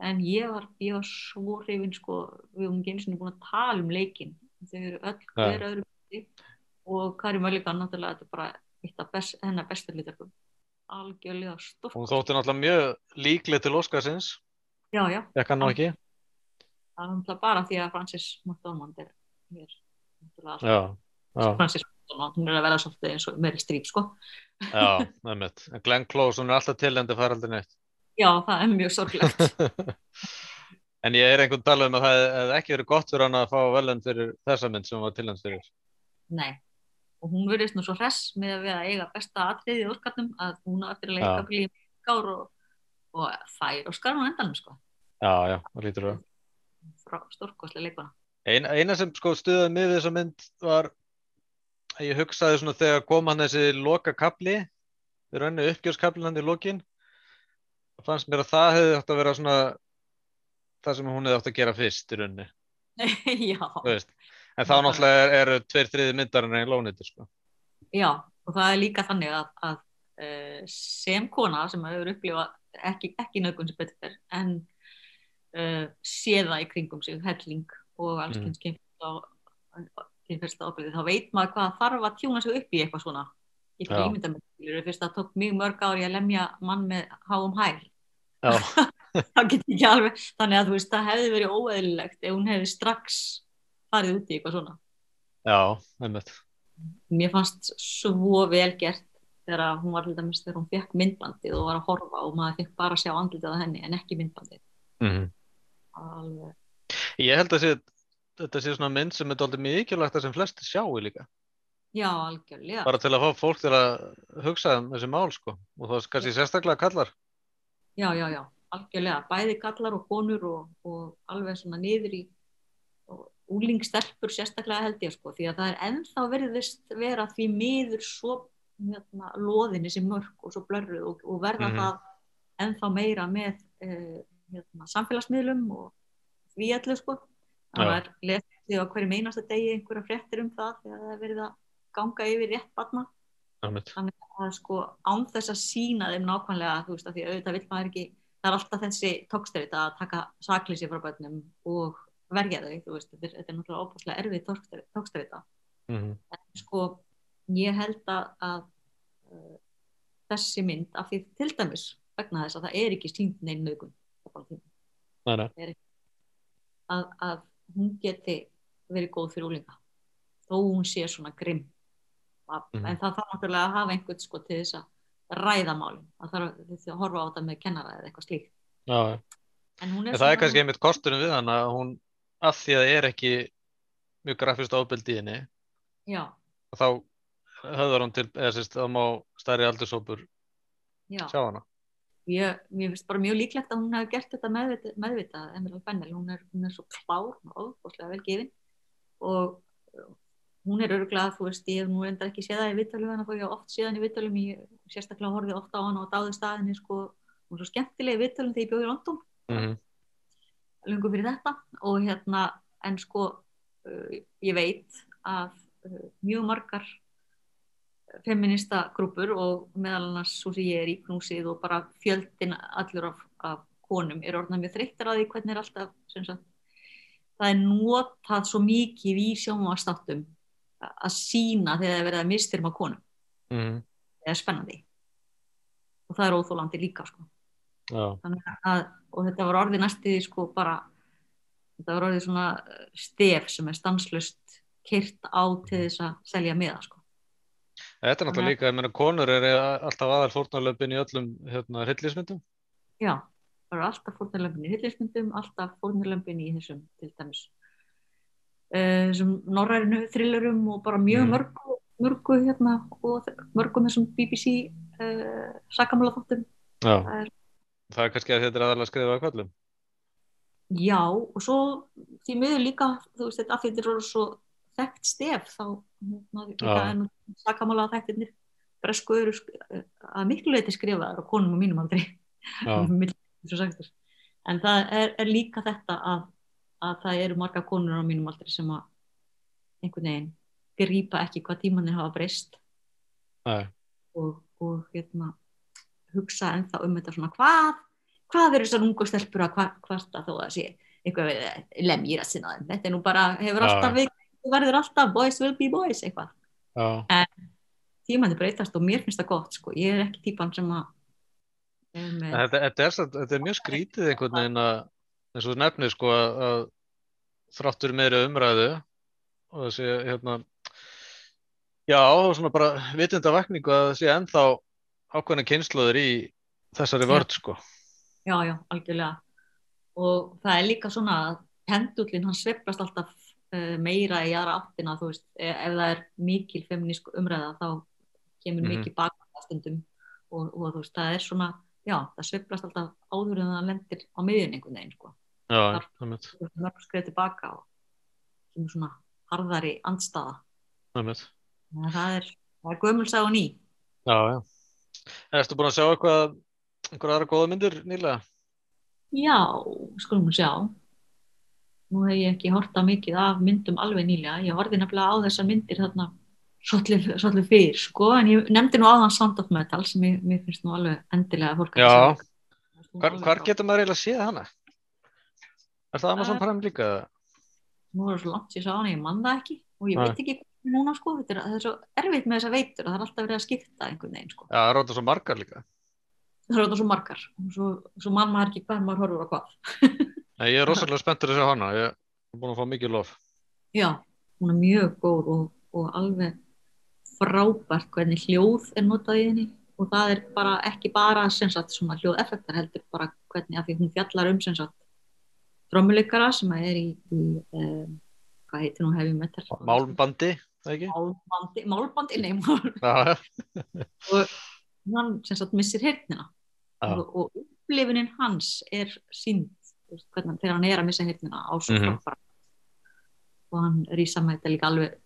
Speaker 2: en ég var, ég var svo hrifin sko, við höfum ekki einu sinni búin að tala um leikin þau eru öll hver öðru besti og Kari Mölligan náttúrulega þetta er bara eitt af best, hennar bestu litarkum algjörlega stórt
Speaker 1: hún þótti náttúrulega mjög líkleg til Óskarsins
Speaker 2: já, já,
Speaker 1: ég kann nú ekki
Speaker 2: það er náttúrulega bara því að Francis McDormand er hér náttúrulega alltaf-
Speaker 1: já, já,
Speaker 2: Francis McDormand, hún er að vera svolítið eins og meiri strík sko,
Speaker 1: já, nefnett en Glenn Close, hún er alltaf tilendi að fara aldrei neitt
Speaker 2: já, það er mjög sorglegt
Speaker 1: en ég er einhvern talað um að það hefði ekki verið gott fyrir hann að fá velend fyrir þessa mynd sem hún var tilend fyrir
Speaker 2: nei, og hún verðist nú svo hress með að við að eiga besta atriði í orkarnum að hún á eftir að leika
Speaker 1: Já.
Speaker 2: að bli gár og, og fær og skarun á endanum sko
Speaker 1: já, já, það lítur það
Speaker 2: frá stórkostlega leikona
Speaker 1: Ein, eina sem sko stuðaði mig við þessa mynd var að ég hugsaði svona þegar kom hann þessi loka kapli við rönni uppgjörskapli hann í lokin og fannst mér að það hefði átt að vera svona það sem hún hefði átt að gera fyrst í rönni
Speaker 2: já,
Speaker 1: en þá náttúrulega er- eru tveir þriði myndarinn í lóniti sko.
Speaker 2: já, og það er líka þannig að, að eh, sem kona sem hefur upplifað ekki, ekki nögun sem betur fer en uh, séða í kringum sig helling og alls
Speaker 1: Mm.
Speaker 2: kyns kynferðsla ofbeldi þá veit maður hvað þarf að tjúna sig upp í eitthvað svona ég
Speaker 1: Já.
Speaker 2: get ímynda mér skilurðu, fyrst það tók mjög mörg ári að lemja mann með háum hæl
Speaker 1: já,
Speaker 2: þá get ég ekki alveg þannig að þú veist það hefði verið óeðlilegt ef hún hefði strax farið út í eitthvað svona
Speaker 1: já, einmitt
Speaker 2: mér fannst svo vel gert þegar að hún var til dæmis þegar hún fekk myndbandið og var að horfa og maður fekk bara að sjá andlitið á henni en ekki myndbandið
Speaker 1: mm
Speaker 2: alveg,
Speaker 1: ég held að sé, þetta sé svona mynd sem er dálítið mikilvægt að sem flesti sjáu líka
Speaker 2: já algjörlega
Speaker 1: bara til að fá fólk til að hugsa um þessi mál sko. og þá kannski sérstaklega kallar
Speaker 2: já já já, algjörlega, bæði kallar og konur og, og alveg svona niður í úlingstelpur sérstaklega held ég sko því að það er ennþá verðist vera því miður svo hérna, loðinni sem mörg og svo blörruð og, og verða
Speaker 1: Mhm.
Speaker 2: það ennþá meira með eh, hérna, samfélagsmiðlum og því allu sko
Speaker 1: Já.
Speaker 2: það er lesið á hverju meinasta degi einhverja fréttir um það þegar það er verið að ganga yfir rétt batna
Speaker 1: einmitt,
Speaker 2: að sko án þess að sína þeim nákvæmlega þú veist að því auðvitað vill maður ekki það er alltaf þessi tókstyrrit að taka saklýsi frá börnum og verja þau þú veist, þetta er, þetta er náttúrulega óbúslega erfið tókstyrrita
Speaker 1: mm
Speaker 2: sko ég held að, að uh, þessi mynd af því til dæmis vegna þess að það er ekki sínd neinn nögun
Speaker 1: Nei, nei.
Speaker 2: að, að hún geti verið góð fyrir úlinga þó hún sé svona grimm að,
Speaker 1: Mhm.
Speaker 2: en það þarf náttúrulega að hafa einhvern sko til þess að ræða málin það þarf þið þið að horfa á þetta með kennara eða eitthvað slíkt
Speaker 1: já, já
Speaker 2: en hún er,
Speaker 1: En það er kannski einmitt kostunum við hann að hún, að því að það er ekki mjög grafist ábyldi í henni,
Speaker 2: já,
Speaker 1: þá höfðar hún til, eða sérst, þá má stærri aldursópur
Speaker 2: já.
Speaker 1: sjá hana.
Speaker 2: Ég, mér finnst bara mjög líklegt að hún hefði gert þetta meðvitað, meðvitað Emerald Fennel, hún er, hún er svo klár hún er ofbúslega vel gefin og uh, hún er örglað þú veist, ég hef nú reyndar ekki séð það í vittalum en það fór ég oft séðan í vittalum ég sérstaklega horfið ofta á hana og dáði staðinni sko, hún er svo skemmtilega í vittalum þegar ég bjóði í London
Speaker 1: Mhm.
Speaker 2: lungu fyrir þetta og hérna en sko uh, ég veit að uh, mjög margar feminista grúpur og meðal annars svo sem ég er í knúsið og bara fjöldin allur af, af konum er orðnað mjög þreyttar að því hvernig er alltaf sem sagt það er notað svo mikið í sjónvastáttum að að sína þegar það er verið að mistyrma konum
Speaker 1: Mhm.
Speaker 2: það er spennandi og það er óþólandi líka sko
Speaker 1: Já,
Speaker 2: þannig að, og þetta var orðið næstu því sko bara þetta var orðið svona eh, stef sem er stanslust kyrt á til þess að selja miða sko
Speaker 1: Þetta er náttúrulega líka, ég meina konur er alltaf aðal fórnarlöfin í öllum hérna hryllismyndum.
Speaker 2: Já, það eru alltaf fórnarlömpin í hillismyndum, alltaf fórnarlömpin í þessum til dæmis eh, þessum norrærinu thrillerum og bara mjög
Speaker 1: Mm.
Speaker 2: mörgu, mörgu hérna og þe- mörgum þessum BBC uh, sakamála þáttum.
Speaker 1: Já.
Speaker 2: Það er-
Speaker 1: Það er kannski að þetta er aðalega skrifað á kvöllum.
Speaker 2: Já, og svo því miður líka, þú veist þetta, af því þetta er svo þekkt stef þá hérna, líka
Speaker 1: Já.
Speaker 2: en sakamála þekktirnir bresku eru sk- eh, að miklu leiti skrifaðar á konum og mínum aldrei.
Speaker 1: Já,
Speaker 2: Milli 1960. en það er, er líka þetta að, að það eru marga konur á mínum aldrei sem að einhvern veginn grípa ekki hvað tímanir hafa breyst
Speaker 1: Nei.
Speaker 2: og, og hérna, hugsa ennþá um þetta svona hvað, hvað eru þessar ungu stelpur að hva- kvarta þó að það sé eitthvað við eh, lemjir að sinna þeim þetta er nú bara,
Speaker 1: Já,
Speaker 2: hefur alltaf við, verður alltaf boys will be boys eitthvað
Speaker 1: já,
Speaker 2: tímanir breytast og mér finnst það gott sko. ég er ekki típan sem að er
Speaker 1: En
Speaker 2: með-
Speaker 1: Þetta, þetta, er, samt- þetta er mjög skrítið einhvern veginn að, eins og þú nefnir sko að, að þráttur meiri umræðu og þessi hérna, já, og svona bara vitundavakningu að það sé ennþá ákveðna kynsluður í þessari
Speaker 2: Já.
Speaker 1: vörd sko.
Speaker 2: Já, já, algjörlega. Og það er líka svona að pendullin hann sveiflast alltaf eh, meira í aðra áttina, þú veist, eh, ef það er mikil feminísk umræða þá kemur
Speaker 1: Mhm.
Speaker 2: mikið bakvæða stundum og, og þú veist, það er svona, já, það sveiflast alltaf áður en það lendir á miðjun einhvern veginn, sko.
Speaker 1: Já,
Speaker 2: Þar-
Speaker 1: einmitt,
Speaker 2: Þú veist, Mörg skrið tilbaka og kemur svona harðari andstaða.
Speaker 1: einmitt.
Speaker 2: Þannig að það er, það er gömulsá og ný.
Speaker 1: Já, já. Erstu búin að sjá eitthvað, einhverja aðra góða myndir nýlega?
Speaker 2: Já, skulum sjá. Nú hef ég ekki horta mikið af myndum alveg nýlega. Ég horfði nefnilega á þessar myndir þarna svolítið svolítið fyrr, sko. En ég nefndi nú áðan Sound of Metal sem ég, mér finnst nú alveg endilega að fólk að
Speaker 1: Já.
Speaker 2: sjá.
Speaker 1: Hvar,
Speaker 2: Nú
Speaker 1: hvar
Speaker 2: alveg-
Speaker 1: getur maður eiginlega séð hana? Er það Amazon
Speaker 2: Eh,
Speaker 1: Prime líka?
Speaker 2: Nú er svo langt sér sá hana, ég man það ekki. Og ég
Speaker 1: Nei.
Speaker 2: veit ekki hvað núna, sko. Þetta er, það er svo erfitt með þessar veitur og það er alltaf verið að skipta einhvern veginn, sko.
Speaker 1: Já, það er ráta svo margar líka.
Speaker 2: Það eru þetta svo margar. og Svo, svo man maður ekki hvað maður horfur á hvað.
Speaker 1: Nei, ég er rosalega spenntur að sjá hana. Ég er búin að fá mikið lof.
Speaker 2: Já, hún er mjög góð og, og alveg frábært hvernig hljóð er notað í henni og það er bara ekki bara sem sagt, svona hljóðeffektar heldur bara hvernig að því hún fjallar um sem sagt drömmuleikara sem að er í, í um, hvað heitir hún hefði með þér?
Speaker 1: Málmbandi, það ekki?
Speaker 2: Málbandi, málbandi, nei, mál,
Speaker 1: Já,
Speaker 2: hann sem sagt missir heyrnina
Speaker 1: Já.
Speaker 2: og, og upplifunin hans er sínd hvernig, þegar hann er að missa heyrnina á svo mm
Speaker 1: Mhm.
Speaker 2: og hann rýsa með þetta líka alveg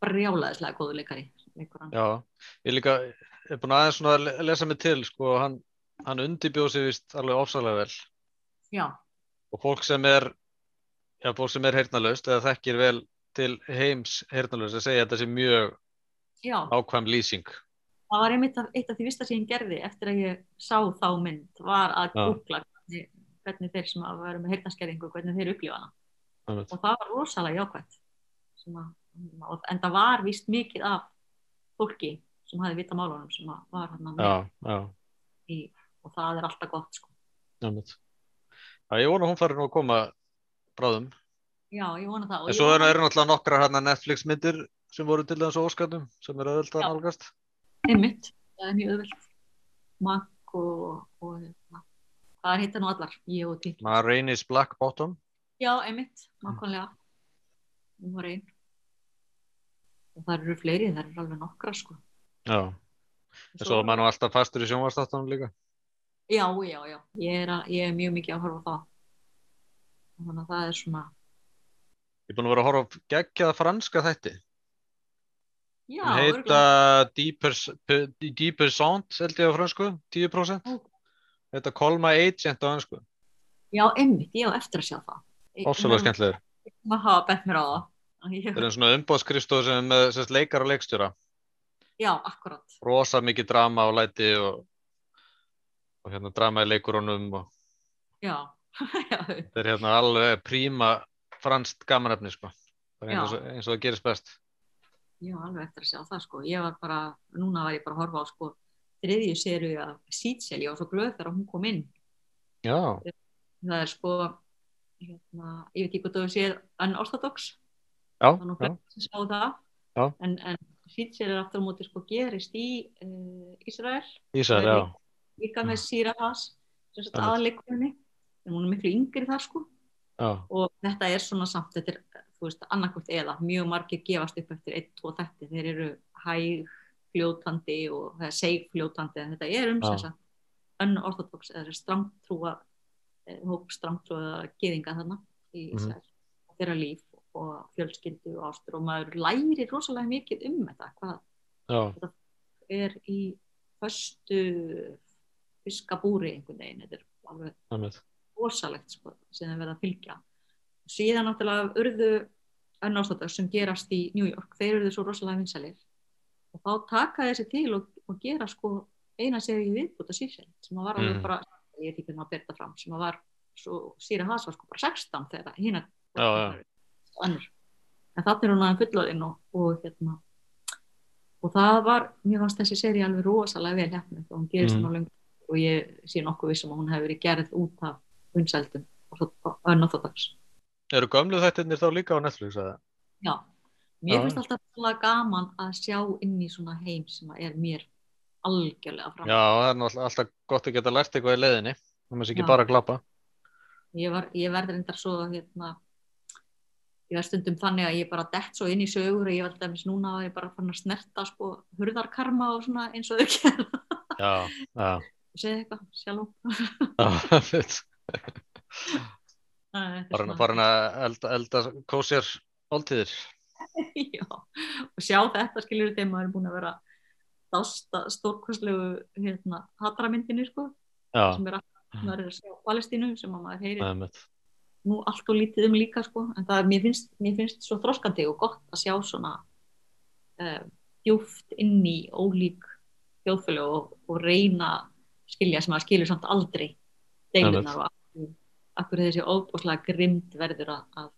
Speaker 2: brjálaðislega góðu leikari leikur hann.
Speaker 1: já. Ég líka er búin aðeins svona að le- lesa mig til, sko, hann, hann undibjóð sér vist alveg ofsalega vel.
Speaker 2: Já,
Speaker 1: Og fólk sem er, já, fólk sem er heyrnalaust eða þekkir vel til heims heyrnalaust að segja að þetta sé mjög
Speaker 2: já,
Speaker 1: ákvæm lýsing.
Speaker 2: það var einmitt af- eitt af því vista sem ég gerði eftir að ég sá þá mynd var að
Speaker 1: Já.
Speaker 2: googla hvernig, hvernig þeir sem að vera með heyrnaskeringu, hvernig þeir upplifa hana
Speaker 1: Einmitt.
Speaker 2: og það var rosalega jákvæmt sem að, og- en það var víst mikið af fólki sem hafi vita málunum sem að var hann með
Speaker 1: Já, já,
Speaker 2: í, og það er alltaf gott sko.
Speaker 1: nefnit. Já, ég vona að hún fari nú að koma bráðum.
Speaker 2: Já, ég vona það. og
Speaker 1: En
Speaker 2: ég
Speaker 1: svo
Speaker 2: vona-
Speaker 1: eru er náttúrulega nokkrar hérna Netflix myndir sem voru til þessu óskarnum sem er auðvitað að
Speaker 2: Já.
Speaker 1: nálgast.
Speaker 2: Einmitt, það er mjög auðvelt. Makk og, og hérna. hvað heita nú allar? Ég og til.
Speaker 1: Marainis Black Bottom.
Speaker 2: Já, einmitt, makkanlega. Hún var einn. Og það eru fleiri, það eru alveg nokkra sko.
Speaker 1: Já, en svo er maður nú alltaf fastur í sjónvarstáttunum líka.
Speaker 2: Já, já, já. Ég er, að, ég er mjög mikið að horfa á það. Þannig að það er svona,
Speaker 1: Ég er búin að vera að horfa á geggjaða franska þætti.
Speaker 2: já,
Speaker 1: Hún heita
Speaker 2: örugglega.
Speaker 1: Deeper, Deeper Sound, held ég á fransku, 10%.
Speaker 2: Ó.
Speaker 1: Þetta Call My Agent á fransku.
Speaker 2: Já, einmitt, ég á eftir að sjá það. Ég-
Speaker 1: Ósvölega skemmtilegur.
Speaker 2: Maður hafa bett mér á það. Ég,
Speaker 1: Þetta er svona umbóðskristof sem er með sérst, leikar og leikstjóra.
Speaker 2: já, akkurat.
Speaker 1: Rosa mikið drama og læti og, og hérna drama í leikurunum og
Speaker 2: Já, já,
Speaker 1: þetta er hérna alveg príma franskt gamanefni sko. Það er eins
Speaker 2: Já.
Speaker 1: og, eins og það gerist best.
Speaker 2: Ég var alveg eftir að sjá það sko. Ég var bara, núna var ég bara að horfa á sko þriðju séru af Sýtsel. Ég var svo glöð þegar hún kom inn.
Speaker 1: Já,
Speaker 2: Það er sko, hérna, ég veit ekki hvað þú hefur séð Unorthodox.
Speaker 1: já,
Speaker 2: Það er nú
Speaker 1: já.
Speaker 2: hvernig sem sá það.
Speaker 1: Já.
Speaker 2: En, en Fitcher er aftur á móti sko gerist í uh, Ísrael
Speaker 1: Ísar,
Speaker 2: Það er
Speaker 1: já,
Speaker 2: líka með
Speaker 1: Mm.
Speaker 2: Sýra Haas sem sagt
Speaker 1: Einmitt.
Speaker 2: aðleikunni en hún er miklu yngri þar sko
Speaker 1: já,
Speaker 2: og þetta er svona samt þetta er, þú veist, annarkvort eða mjög margir gefast upp eftir einn, tvo þætti þeir eru hæg fljótandi og það er seg fljótandi en þetta er um
Speaker 1: Já.
Speaker 2: þess að unorthodox eða strangtrúa eh, hóp strangtrúa gyðinga þarna í
Speaker 1: Mhm.
Speaker 2: Ísrael þeirra líf og fjölskyldu og ástur og maður lærir rosalega mikið um þetta hvað
Speaker 1: já,
Speaker 2: er í föstu fiskabúri einhvern veginn, þetta er alveg
Speaker 1: einmitt,
Speaker 2: rosalegt sko, sem þeir verða að fylgja síðan náttúrulega urðu önnástáttag sem gerast í New York þeir urðu svo rosalega vinsalir og þá taka þessi til og, og gera sko eina séri í viðbúta síðan sem að var alveg
Speaker 1: Mm.
Speaker 2: bara, ég veit ekki hvernig að berða fram sem að var, svo síra hans var sko bara 16 þegar hérna
Speaker 1: Já, já.
Speaker 2: annir en þannig er hún aðeins fullorinn og, og hérna og það var, mér fannst þessi séri alveg rosalega vel hefnir og hún gerist
Speaker 1: Mm.
Speaker 2: mm. löngu og ég sé nokkuð vissum að hún hefur verið gerð út af vinsældum og önnáttáttags
Speaker 1: Eru gömlu þættirnir þá líka á Netflix eða?
Speaker 2: Já, mér
Speaker 1: Já.
Speaker 2: finnst alltaf svona gaman að sjá inn í svona heim sem að er mér algjörlega fram
Speaker 1: Já, það er náttúrulega alltaf gott að geta lært eitthvað í leiðinni, það maður sé ekki
Speaker 2: Já.
Speaker 1: bara að glappa.
Speaker 2: ég, var, ég verður endar svo hérna, ég var stundum þannig að ég bara dett svo inn í sögur og ég var dæmis núna að ég bara fann að snerta sko hurðarkarma og svona eins og þau gera
Speaker 1: Já, já,
Speaker 2: og segja eitthvað sjálf
Speaker 1: já, einmitt. bara
Speaker 2: bara,
Speaker 1: farin að elda, elda kósér oldtíðir.
Speaker 2: Já, og sjá þetta skilur þegar maður er búin að vera dásta stórkostlegu hérna, hatramyndinu sko,
Speaker 1: Já,
Speaker 2: sem er að maður er að sjá Palestínu sem að maður heyrir
Speaker 1: einmitt,
Speaker 2: nú allt og lítið um líka sko, en það er, mér finnst, mér finnst svo þroskandi og gott að sjá svona uh, djúft inn í ólík þjóðfélög og, og reyna skilja sem maður skilur samt aldrei
Speaker 1: Einmitt.
Speaker 2: deilunar og akkur, akkur þessi óbúslega grimd verður að, að,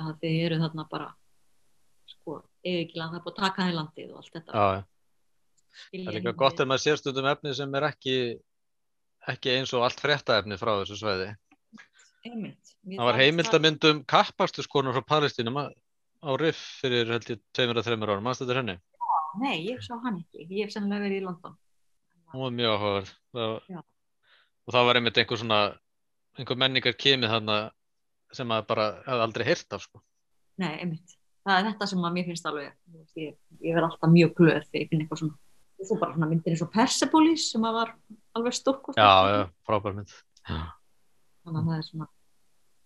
Speaker 2: að þið eru þarna bara sko, eða ekki land, það er búið að taka það í landið og allt
Speaker 1: já,
Speaker 2: þetta
Speaker 1: já. Það er líka gott ef maður sér stundum efni sem er ekki, ekki eins og allt fréttaefni frá þessu sveiði.
Speaker 2: heimilt
Speaker 1: Það var heimildamyndum kappakstuskonur frá Palestínum á á Riff fyrir held ég tveimur að þreimur árum, mannst þetta henni?
Speaker 2: Nei, ég sá hann ekki, ég hef sennilega verið í London
Speaker 1: Hún var mjög áhugaverð.
Speaker 2: Já.
Speaker 1: Það, og það var einmitt einhver svona, einhver menningar kemið þarna sem maður bara hefði aldrei heyrt af sko.
Speaker 2: Nei, einmitt. Það er þetta sem að mér finnst alveg, þú veist, ég, ég verð alltaf mjög glöð þegar ég finn eitthvað svona. Og Svo bara svona myndir eins og Persepolis sem að var alveg stórkost.
Speaker 1: Já, já, frábær mynd.
Speaker 2: Þannig að það er svona,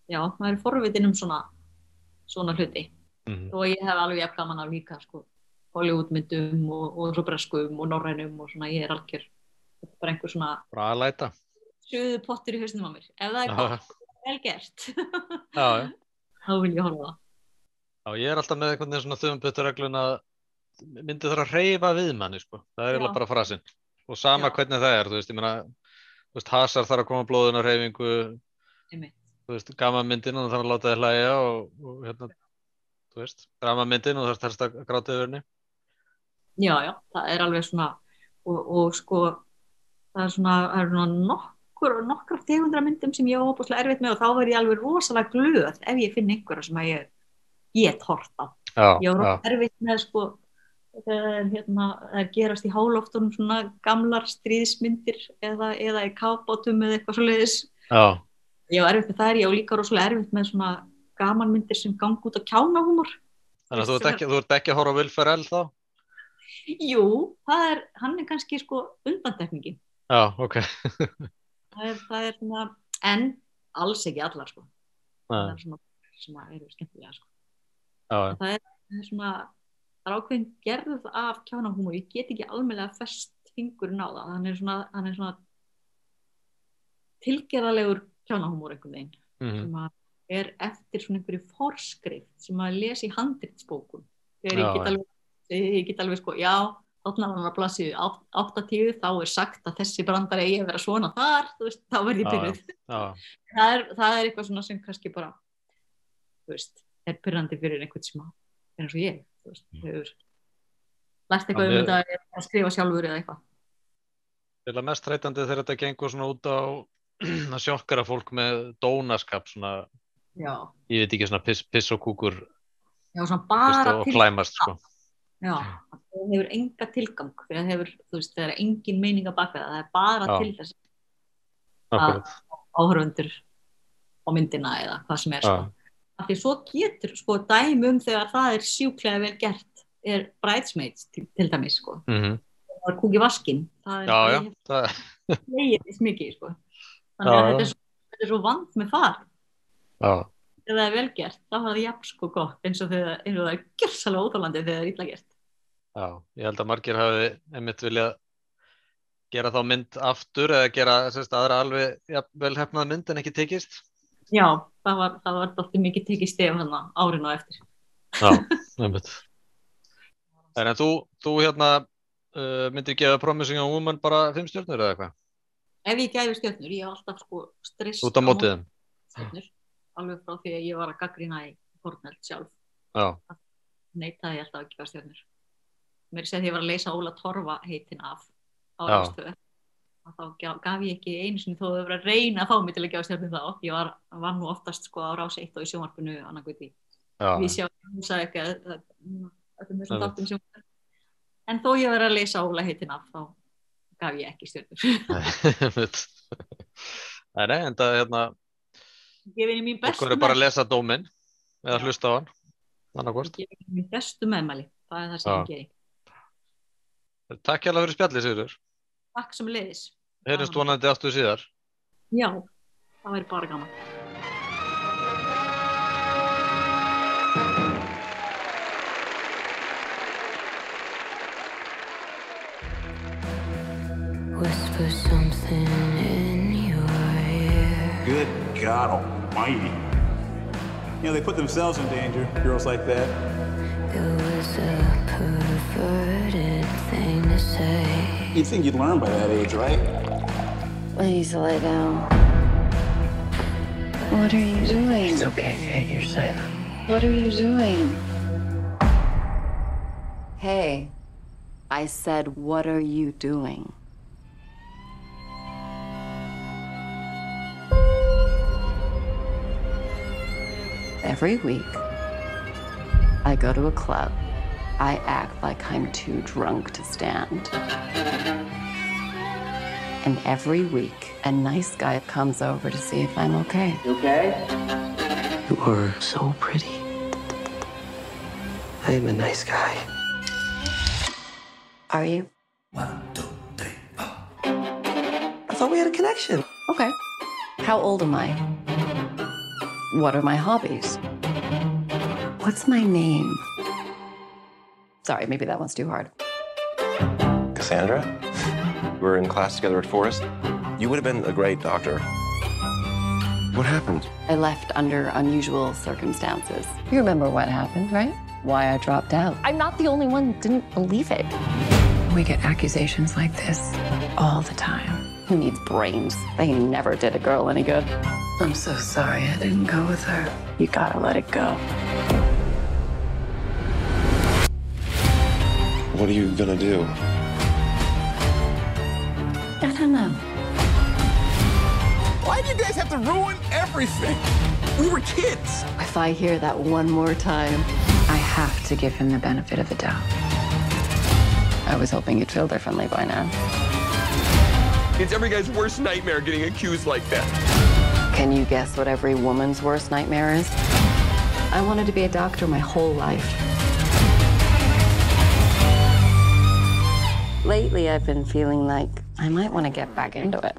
Speaker 2: já, maður er forvitin um svona, svona hluti.
Speaker 1: Mhm.
Speaker 2: Og ég hef alveg jafn gaman af líka, sko, Hollywoodmyndum og, og svo breskum og norrænum og svona, ég er algjör, þetta er bara einhver svona
Speaker 1: Bara að læta.
Speaker 2: sjöðu pottur í hausnum á mér. Ef það er
Speaker 1: Já,
Speaker 2: gott, vel gert,
Speaker 1: já, já.
Speaker 2: þá vil ég horfa á það.
Speaker 1: Já, ég er alltaf með einhvern veginn svona þumbutturreglun að myndi þarf að reyfa við manni, sko. Það er
Speaker 2: Já.
Speaker 1: eiginlega bara frasinn. Og sama
Speaker 2: Já.
Speaker 1: hvernig það er, þú veist, ég meina, þú veist, hasar þarf að koma blóðun á reyfingu,
Speaker 2: Einmitt.
Speaker 1: þú veist, gamanmyndin og þarf að láta þið hlæja og, og hérna, þú veist, dramamyndin og þarf þarst að gráta yfir henni.
Speaker 2: Já, já, það er alveg svona og, og sko það er svona, það er svona nokkur nokkra tegundra myndum sem ég var óbúslega erfitt með og þá verð ég alveg rosalega glöð ef ég finn einhverja sem að ég get hort á.
Speaker 1: Já,
Speaker 2: Ég var rosalega erfitt með sko þegar hérna, það gerast í háloftunum svona gamlar stríðsmyndir eða, eða í kápátum eða eitthvað svoleiðis.
Speaker 1: já,
Speaker 2: Ég var erfitt með það, ég var líka rosalega erfitt með svona gamanmyndir sem gang út á kjánahúmor.
Speaker 1: þannig að þú ert
Speaker 2: Sem er-
Speaker 1: ekki, þú ert ekki að horfa á Will Ferrell þá?
Speaker 2: Jú, það er, hann er kannski sko undantekningin.
Speaker 1: Já, ok.
Speaker 2: það er, það er svona, en alls ekki allar sko. það
Speaker 1: Já,
Speaker 2: er svona sem að eru skemmtilega sko.
Speaker 1: já,
Speaker 2: það er svona, það er ákveðin gerð af kjánahúmor, ég get ekki almennlega fest fingurinn á það, hann er svona, hann er svona tilgerðalegur kjánahúmor einhvern veginn,
Speaker 1: mhm,
Speaker 2: sem að er eftir svona einhverju forskrift sem að lesi í handritsbókum þegar
Speaker 1: Já,
Speaker 2: ég get
Speaker 1: já.
Speaker 2: alveg, ég get alveg sko, já Þannig að hann að blassi 80, þá er sagt að þessi brandar eigi að vera svona þar, þú veist, þá verð
Speaker 1: Já,
Speaker 2: ég
Speaker 1: já.
Speaker 2: byrjuð
Speaker 1: já,
Speaker 2: það er, það er eitthvað svona sem kannski bara þú veist, er pyrrandi fyrir einhvern sem að er eins og ég þú veist,
Speaker 1: Mm.
Speaker 2: hefur lært eitthvað um
Speaker 1: Þannig-
Speaker 2: þetta er að skrifa sjálfur eða eitthvað
Speaker 1: Til að mest þreytandi þegar þetta gengur svona út á að sjokkara fólk með dónaskap, svona
Speaker 2: já,
Speaker 1: ég veit ekki svona piss, piss og kúkur
Speaker 2: já svona
Speaker 1: veist,
Speaker 2: bara
Speaker 1: og
Speaker 2: til
Speaker 1: klæmast sko.
Speaker 2: Já, að það hefur enga tilgang þegar það hefur, þú veist, það er engin meininga baka það, það er bara
Speaker 1: Já.
Speaker 2: til þess Ah.
Speaker 1: akkurat,
Speaker 2: áhörfundur á myndina eða hvað sem er
Speaker 1: já,
Speaker 2: sko. Af því svo getur sko dæmum þegar það er sjúklega vel gert er bridesmaids til, til dæmis sko,
Speaker 1: mhm,
Speaker 2: það er kúki vaskin það er
Speaker 1: já, já, það er,
Speaker 2: leiðis mikið sko. þannig
Speaker 1: Já,
Speaker 2: að
Speaker 1: já.
Speaker 2: þetta er, svo, þetta er svo vand með far
Speaker 1: já,
Speaker 2: þegar það er vel gert, þá er það jafn sko gott eins og þegar eins og það er gjörsalega óþólandi þegar það er illa gert
Speaker 1: já, ég held að margir hafi einmitt viljað gera þá mynd aftur eða gera sérst, aðra alveg ja, vel hefnað mynd en ekki tekist.
Speaker 2: já, það var, það var dóttir mikið tekið stef hann árin og eftir
Speaker 1: Já, einmitt. En en þú, þú hérna uh, myndir gefa Promising Young Woman bara fimm stjórnur eða eitthvað?
Speaker 2: ef ég gæfi stjörnur, ég hef alltaf sko stress
Speaker 1: Út á mótið þeim?
Speaker 2: stjörnur, alveg frá því að ég var að gaggrina í Fortnite sjálf,
Speaker 1: Já,
Speaker 2: neitaði ég alltaf að gefa stjörnur mér segði ég var að leysa Óla Torfa heitin af á
Speaker 1: Já.
Speaker 2: ástöðu og þá gaf- gaf ég ekki einu sinni þó að vera að reyna að fá mig til að gefa stjörnur þá ég var, var nú oftast sko á rás eitt og í sjónvarpinu annan guði, við
Speaker 1: já,
Speaker 2: sjáum húsa ekki að að- öllum þessum
Speaker 1: Einmitt.
Speaker 2: þáttum sem en þó ég var að leysa Óla heitin af þá gaf ég ekki stjörnur
Speaker 1: einmitt. Nei, nei, en það hérna,
Speaker 2: ég vinni mín bestu
Speaker 1: okkur er bara að
Speaker 2: meðmæli.
Speaker 1: lesa dóminn eða
Speaker 2: Já.
Speaker 1: hlusta á hann. Þannig hvort.
Speaker 2: Ég vinni mín bestu meðmæli það er það sem
Speaker 1: Já.
Speaker 2: ég geri
Speaker 1: Takk hérlega fyrir spjallið, Sigurður.
Speaker 2: Takk sem leiðis.
Speaker 1: Heyrjumst
Speaker 2: Gaman.
Speaker 1: vonandi aftur síðar.
Speaker 2: Já, það væri bara gaman.
Speaker 3: Whisper something in your ear.
Speaker 4: Good God Almighty. You know, they put themselves in danger, girls like that.
Speaker 3: It was a perverted thing to say.
Speaker 4: You'd think you'd learn by that age, right?
Speaker 5: I need to lay down. What are you doing? It's okay. Hey, you're safe. What are you doing? Hey, I said, what are you doing? Every week, I go to a club. I act like I'm too drunk to stand. And every week, a nice guy comes over to see if I'm okay.
Speaker 6: You are so pretty. I am a nice guy.
Speaker 5: Are you?
Speaker 6: I thought we had a connection.
Speaker 5: Okay. How old am I? What are my hobbies? What's my name? Sorry, maybe that one's too hard.
Speaker 7: Cassandra? We were in class together at Forest. You would have been a great doctor. What happened?
Speaker 5: I left under unusual circumstances. You remember what happened, right? Why I dropped out. I'm not the only one who didn't believe it. We get accusations like this all the time. Who needs brains? They never did a girl any good. I'm so sorry I didn't go with her. You gotta let it go.
Speaker 7: What are you gonna do?
Speaker 5: I don't know.
Speaker 8: Why do you guys have to ruin everything? We were kids.
Speaker 5: If I hear that one more time, I have to give him the benefit of the doubt. I was hoping you'd feel differently by now.
Speaker 8: It's every guy's worst nightmare getting accused like that.
Speaker 5: Can you guess what every woman's worst nightmare is? I wanted to be a doctor my whole life. Lately, I've been feeling like I might want to get back into it.